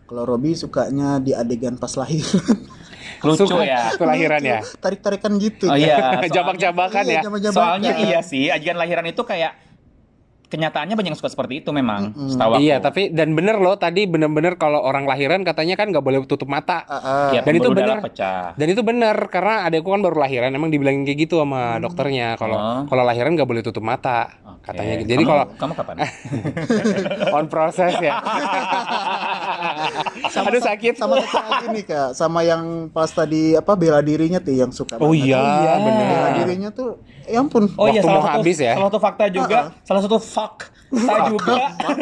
S5: Kalau Robi sukanya di adegan pas lahir.
S2: lucu
S1: Suka
S2: ya
S1: waktu lahiran ya.
S5: Tarik-tarikan gitu.
S2: oh iya soalnya-
S1: Jabak-jabakan
S5: Iya,
S1: ya.
S5: jabak-jabakan.
S2: soalnya iya sih adegan lahiran itu kayak kenyataannya banyak yang suka seperti itu memang setahu aku
S1: Iya, tapi dan bener loh tadi bener-bener kalau orang lahiran katanya kan nggak boleh tutup mata.
S5: Ah, ah.
S2: Ya,
S1: Dan itu
S2: pembuluh darah
S1: bener.
S2: pecah
S1: Dan itu bener karena adekku kan baru lahiran emang dibilangin kayak gitu sama dokternya kalau
S2: Hmm. Oh.
S1: kalau lahiran nggak boleh tutup mata
S2: Oke.
S1: katanya gitu. Jadi
S2: Kamu-
S1: kalau
S2: kamu kapan
S1: on process ya. Aduh sakit.
S5: Sama satu lagi nih kak, sama yang pas tadi apa bela dirinya tuh yang suka.
S1: Oh
S5: banget.
S1: iya, bener.
S5: Bela
S2: iya,
S5: dirinya tuh, ya ampun.
S2: Oh iya,
S1: Waktu
S2: salah
S1: mau
S2: satu,
S1: habis ya.
S2: Salah satu fakta juga, salah satu fuck. Saya juga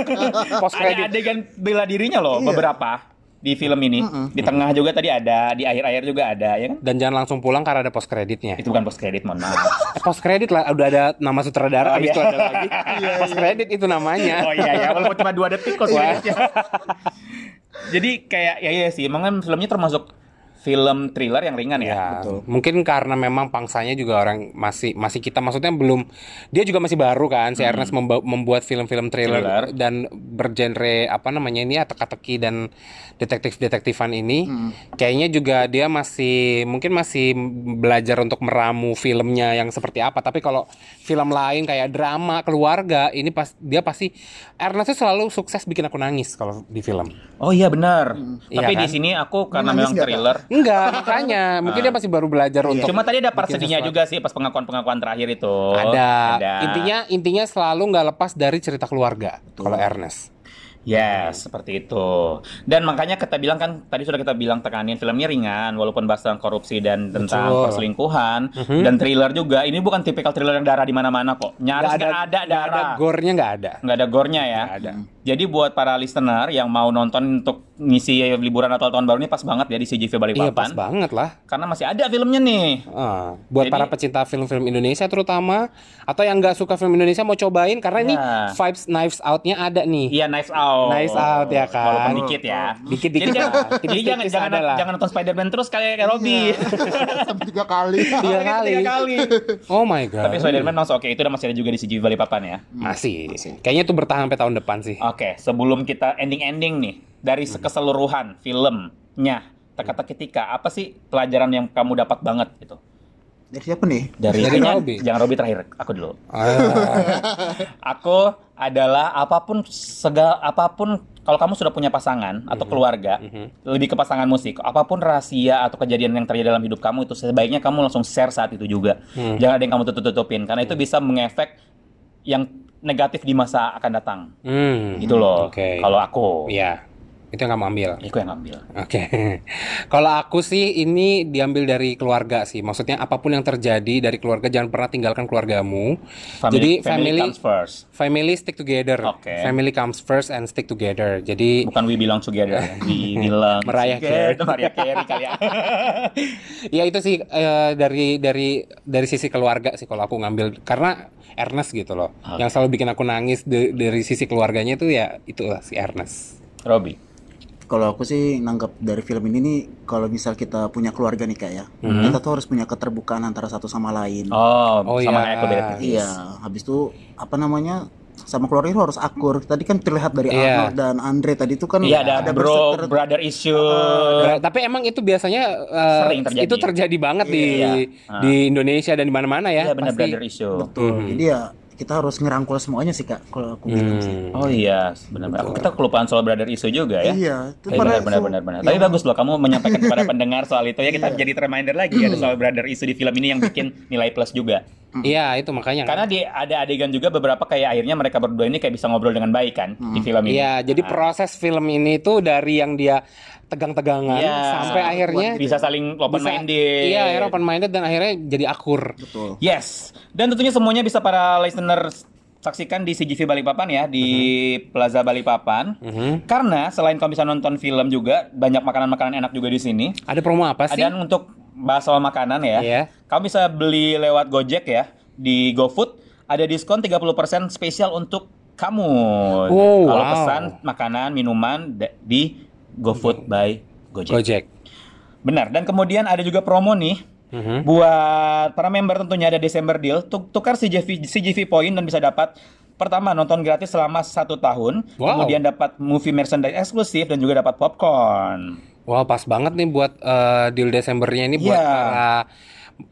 S1: Post
S2: ada
S1: credit.
S2: adegan bela dirinya loh
S5: Iya.
S2: beberapa di film ini. Di tengah juga tadi ada, di akhir-akhir juga ada ya kan?
S1: Dan jangan langsung pulang karena ada post kreditnya.
S2: Itu bukan post credit, mohon maaf.
S1: Eh, post kredit lah udah ada nama sutradara
S2: Oh,
S1: habis
S2: iya.
S1: itu ada lagi post kredit itu namanya
S2: oh iya ya, walaupun cuma dua detik post
S5: iya.
S1: Wah.
S2: creditnya. Jadi kayak ya iya sih, emang kan filmnya termasuk film thriller yang ringan
S1: Ya,
S2: ya.
S1: mungkin karena memang pangsanya juga orang masih masih kita maksudnya belum dia juga masih baru kan si Ernest memba- membuat film-film thriller,
S2: Hmm. Thriller.
S1: dan bergenre apa namanya ini ya teka-teki dan detektif-detektifan ini
S2: Hmm.
S1: kayaknya juga dia masih mungkin masih belajar untuk meramu filmnya yang seperti apa tapi kalau film lain kayak drama keluarga ini pas dia pasti Ernest tuh selalu sukses bikin aku nangis kalau di film
S2: Oh iya benar. Tapi
S1: Iya kan?
S2: di sini aku karena
S5: Mm.
S2: memang
S5: Nangis nggak, Kak?
S2: thriller.
S1: enggak makanya mungkin dia masih baru belajar untuk
S2: Ah. Iya. Cuma tadi ada
S1: Iya.
S2: part
S1: bikin
S2: sedihnya
S1: sesuatu.
S2: juga sih pas pengakuan-pengakuan terakhir itu.
S1: ada. Intinya intinya selalu nggak lepas dari cerita keluarga kalau Ernest.
S2: Yes, seperti itu. Dan makanya kita bilang kan tadi sudah kita bilang tekanin filmnya ringan walaupun bahas tentang korupsi dan tentang
S1: Betul. Mhm.
S2: perselingkuhan dan thriller juga. Ini bukan tipikal thriller yang darah di mana-mana kok. Nyaris nggak ada,
S1: nggak ada
S2: darah.
S1: gore-nya nggak ada.
S2: Nggak ada gornya ya.
S1: Nggak ada.
S2: Jadi buat para listener yang mau nonton untuk ngisi liburan atau tahun baru ini pas banget ya di
S1: Iya pas
S2: CGV Balikpapan.
S1: banget lah.
S2: Karena masih ada filmnya nih.
S1: Eh, buat
S2: Jadi-
S1: para pecinta film-film Indonesia terutama atau yang nggak suka film Indonesia mau cobain karena ini
S2: Ya.
S1: vibes Knives Out-nya ada nih.
S2: Iya, Knives Out.
S1: Knives Out, ya kan?
S2: Walaupun dikit ya.
S1: Dikit-dikit
S2: Jadi
S1: lah.
S2: jangan- Jadi
S1: Tipis-tipis
S2: jangan jangan
S1: ada lah. Iya.
S2: jangan nonton Spider-Man terus kayak kayak Robby.
S5: Sampai Iya. tiga kali.
S1: Tiga
S2: Makanya
S1: kali.
S2: Tiga kali.
S1: Oh my god. Hmm.
S2: Tapi Spider-Man langsung oke itu udah masih ada juga di CGV Balikpapan ya.
S1: masih. Kayaknya itu bertahan sampai tahun depan sih.
S2: Oke, sebelum kita ending-ending nih dari se- keseluruhan filmnya teka ketika apa sih pelajaran yang kamu dapat banget gitu
S5: Dari siapa nih?
S2: dari,
S1: Dari
S2: Jangan-
S1: Robby.
S2: jangan Robi terakhir aku dulu
S1: Ah,
S2: aku adalah apapun segala apapun kalau kamu sudah punya pasangan atau
S1: Mhm.
S2: keluarga lebih ke pasangan musik apapun rahasia atau kejadian yang terjadi dalam hidup kamu itu sebaiknya kamu langsung share saat itu juga
S1: Hmm.
S2: jangan ada yang kamu tutup-tutupin karena itu bisa mengefek yang negatif di masa akan datang
S1: hmm.
S2: gitu loh
S1: Oke.
S2: kalau aku
S1: Iya. Itu yang kamu ambil.
S2: aku yang ngambil
S1: Oke, kalau aku sih ini diambil dari keluarga sih. Maksudnya apapun yang terjadi dari keluarga jangan pernah tinggalkan keluargamu. Jadi family
S2: comes first
S1: family stick together.
S2: Oke.
S1: Family comes first and stick together. Jadi
S2: bukan we belong together ya. we belong
S1: Mariah
S2: together.
S1: Carey.
S2: Mariah Carey kali ya
S1: ya itu sih eh, dari dari dari sisi keluarga sih kalau aku ngambil karena Ernest gitu loh.
S2: Oke.
S1: Yang selalu bikin aku nangis de- dari sisi keluarganya itu ya itulah si Ernest.
S2: Robby
S5: Kalau aku sih nanggap dari film ini nih, kalau misal kita punya keluarga nih kak ya, kita tuh harus punya keterbukaan antara satu sama lain.
S2: oh,
S1: Mhm. Oh,
S2: sama
S1: iya.
S2: kayak aku beda tipis
S5: Iya, habis itu apa namanya sama keluarga itu harus akur. Tadi kan terlihat dari
S1: Iya.
S5: Arnold dan Andre tadi itu kan
S2: Iya ada, bro,
S5: berseteru-
S2: brother issue.
S1: Nah, tapi emang itu biasanya eh,
S2: Eh. Sering terjadi.
S1: itu terjadi banget di
S2: Iya.
S1: di Indonesia dan di mana-mana ya.
S2: Iya
S1: Pasti.
S2: benar
S1: Mhm.
S2: brother issue.
S5: Betul. Jadi ya kita harus ngerangkul semuanya sih kak kalau aku bilang sih.
S1: Hmm.
S2: Oh iya, benar-benar. Aku- Kita kelupaan soal brother isu juga ya.
S5: Iya, itu Iya.
S2: Eh,
S5: padahal
S2: benar, benar, benar,
S5: so-
S2: benar.
S1: Iya.
S5: yang-
S2: Tapi bagus loh kamu menyampaikan kepada pendengar soal itu ya kita
S5: Iya.
S2: jadi reminder lagi ada
S1: Hmm.
S2: soal brother isu di film ini yang bikin nilai plus juga.
S1: Iya itu makanya. kan.
S2: Karena di ada adegan juga beberapa kayak akhirnya mereka berdua ini kayak bisa ngobrol dengan baik kan di film ini.
S1: Iya, jadi
S2: Ah.
S1: proses film ini tuh dari yang dia tegang-tegangan
S2: Iya.
S1: sampai akhirnya
S2: bisa saling open minded.
S1: Iya, akhirnya open minded dan akhirnya jadi akur.
S5: Betul.
S2: Yes. Dan tentunya semuanya bisa para listener saksikan di CGV Balikpapan ya di
S1: Mm-hmm.
S2: Plaza Balikpapan.
S1: Mhm.
S2: Karena selain kamu bisa nonton film juga banyak makanan-makanan enak juga di sini.
S1: Ada promo apa sih?
S2: Dan untuk bahas soal makanan anu ya,
S1: Iya.
S2: kamu bisa beli lewat Gojek ya di GoFood. Ada diskon 30% spesial untuk kamu
S1: Oh,
S2: kalau
S1: wow.
S2: pesan makanan minuman da- di GoFood
S1: Mm-hmm.
S2: by Gojek.
S1: Gojek.
S2: Benar. Dan kemudian ada juga promo nih
S1: Mhm.
S2: buat para member tentunya ada Desember deal tuk- tukar CJV CJV point dan bisa dapat pertama nonton gratis selama satu tahun,
S1: Wow.
S2: kemudian dapat movie merchandise eksklusif dan juga dapat popcorn.
S1: Wah, pas banget nih buat eh, deal Desembernya ini buat
S2: Iya.
S1: para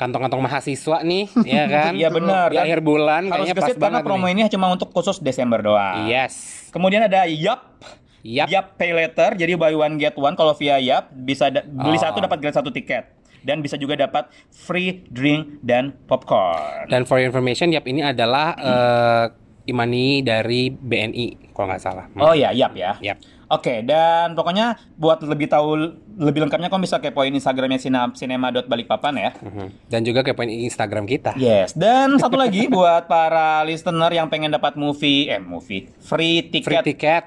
S1: kantong-kantong mahasiswa nih, ya kan?
S2: Iya, benar.
S1: Di
S2: Dan
S1: akhir bulan
S2: Harus
S1: kayaknya pas
S2: gesit karena
S1: banget
S2: promo
S1: nih. Iya.
S2: ini cuma untuk khusus Desember doang.
S1: Yes.
S2: Kemudian ada Yap.
S1: Yap.
S2: Pay Later. Jadi buy one get one kalau via Yap bisa da-
S1: Oh.
S2: beli satu dapat gratis satu tiket dan bisa juga dapat free drink dan popcorn.
S1: Dan for your information, Yap ini adalah eh, Imani dari BNI kalau nggak salah.
S2: Oh ya, Yap ya.
S1: Hmm. Yap.
S2: Oke, dan pokoknya buat lebih tahu lebih lengkapnya kamu bisa kepoin Instagramnya Sina- cinema.balikpapan ya.
S1: Mhm. Dan juga kepoin Instagram kita.
S2: Yes, dan satu lagi buat para listener yang pengen dapat movie, eh movie, free tiket.
S1: Free tiket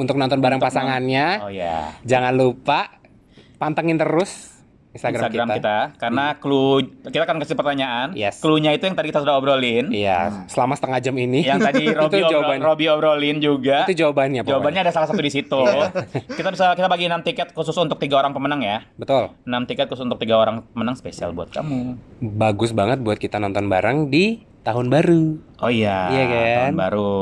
S1: untuk nonton bareng pasangannya.
S2: Oh ya,
S1: Jangan lupa pantengin terus Instagram,
S2: Instagram,
S1: kita. Hmm.
S2: kita. Karena clue, kita akan kasih pertanyaan.
S1: Yes.
S2: Clue-nya itu yang tadi kita sudah obrolin.
S1: Iya, selama setengah jam ini.
S2: Hmm. Yang tadi Robby,
S1: itu
S2: obrol-
S1: jawabannya.
S2: Robby obrolin juga.
S1: Itu Iya. jawabannya. pokoknya.
S2: Jawabannya ada salah satu di situ. kita bisa kita bagi 6 tiket khusus untuk tiga orang pemenang ya.
S1: Betul.
S2: 6 tiket khusus untuk tiga orang pemenang spesial buat kamu.
S1: Bagus banget buat kita nonton bareng di tahun baru.
S2: Oh iya,
S1: Iya kan? Mhm.
S2: tahun baru.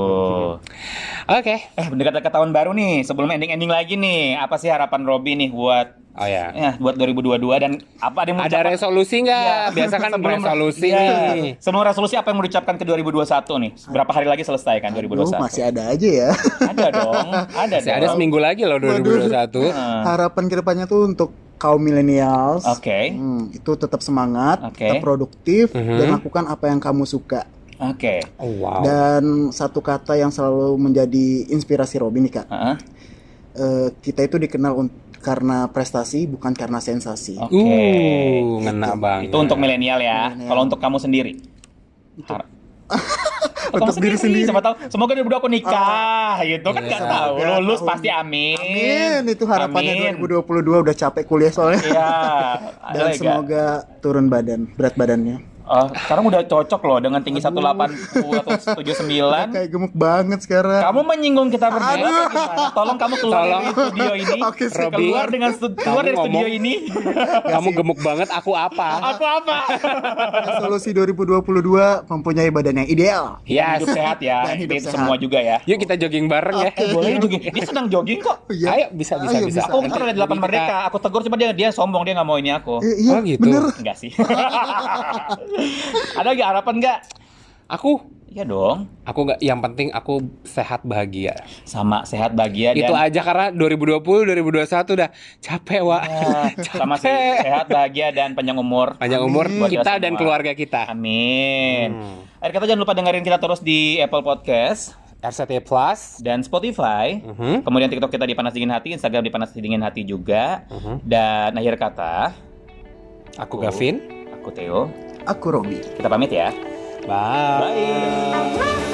S1: Oke.
S2: Eh, mendekat-dekat tahun baru nih, sebelum ending-ending lagi nih, apa sih harapan Robby nih buat
S1: Oh ya.
S2: ya buat 2022 dan apa ada yang mau
S1: Ada
S2: dicapai?
S1: resolusi nggak?
S2: Iya.
S1: Biasa kan
S2: Sebelum-
S1: resolusi
S2: Iya.
S1: nih.
S2: Sebelum resolusi apa yang mau diucapkan ke 2021 nih? Berapa hari lagi selesai kan
S5: Aduh,
S2: 2021?
S5: masih ada aja ya.
S2: Ada dong, ada
S1: Masih
S2: dong.
S1: ada seminggu lagi loh 2021.
S2: Heeh.
S5: Harapan kedepannya tuh untuk kaum millennials.
S2: Ah. Oke.
S5: Hmm, itu tetap semangat,
S2: Oke.
S5: tetap produktif,
S1: Mhm.
S5: dan lakukan apa yang kamu suka.
S2: Oke.
S1: Oh, wow.
S5: Dan satu kata yang selalu menjadi inspirasi Robin nih kak,
S2: Heeh.
S5: Eh, kita itu dikenal un- karena prestasi bukan karena sensasi.
S2: Oke.
S1: Uh, ngena banget.
S2: Itu untuk milenial ya.
S5: Milenial.
S2: Kalau untuk kamu sendiri? Har- Untuk,
S5: Untuk diri sendiri.
S2: Siapa tahu semoga 2022 aku nikah
S1: Oh.
S2: gitu kan nggak
S5: Iya.
S2: tahu. Lulus
S5: Tahun-
S2: pasti amin.
S5: Amin, itu harapannya
S2: Amin.
S5: 2022 udah capek kuliah soalnya.
S2: Iya. ada lagi
S5: Dan
S2: nggak?
S5: semoga turun badan, berat badannya.
S2: Oh, sekarang udah cocok loh dengan tinggi 180 atau 79.
S5: Kayak gitu. gemuk banget sekarang.
S2: Kamu menyinggung kita berdua atau gimana? Tolong kamu keluar
S1: Tolong.
S2: dari studio ini.
S5: Oke, sih,
S1: Robby.
S2: keluar dengan stu- keluar dari
S1: Kamu
S2: studio
S1: ngomong.
S2: ini.
S1: Kamu gemuk banget, aku apa?
S2: Aku apa?
S5: Resolusi 2022 mempunyai badan yang ideal.
S1: Yes.
S2: Hidup sehat ya.
S5: Dan hidup
S2: Itu
S5: sehat.
S2: semua juga ya.
S1: Yuk kita jogging bareng ya.
S2: Eh, boleh jogging. Dia senang jogging kok.
S5: Iya.
S1: Ayo bisa bisa
S5: Ayo,
S1: bisa.
S5: bisa.
S2: Aku Oh, ntar ada 8
S1: Jadi
S2: merdeka, aku tegur cuma dia dia sombong dia nggak mau ini aku.
S5: Eh,
S1: Oh,
S5: iya,
S1: gitu.
S5: bener.
S2: Enggak sih. ada lagi harapan nggak?
S1: Aku
S2: Iya dong.
S1: aku nggak yang penting aku sehat bahagia.
S2: Sama sehat bahagia
S1: Itu
S2: dan
S1: aja karena 2020 2021 udah capek, Wak.
S2: Ah, sama sih sehat bahagia dan panjang umur.
S1: Panjang umur
S2: Buat kita
S1: kita dan
S2: semua.
S1: keluarga kita.
S2: Amin.
S1: Hmm.
S2: Akhir kata jangan lupa dengerin kita terus di Apple Podcast
S1: RCT Plus.
S2: dan Spotify.
S1: Mhm.
S2: Kemudian TikTok kita di Panas Dingin Hati, Instagram di Panas Dingin Hati juga.
S1: Mhm.
S2: Dan akhir kata,
S1: Aku Gavin.
S2: aku Theo.
S5: Aku Robby.
S2: Kita pamit ya.
S1: Bye.
S2: Bye.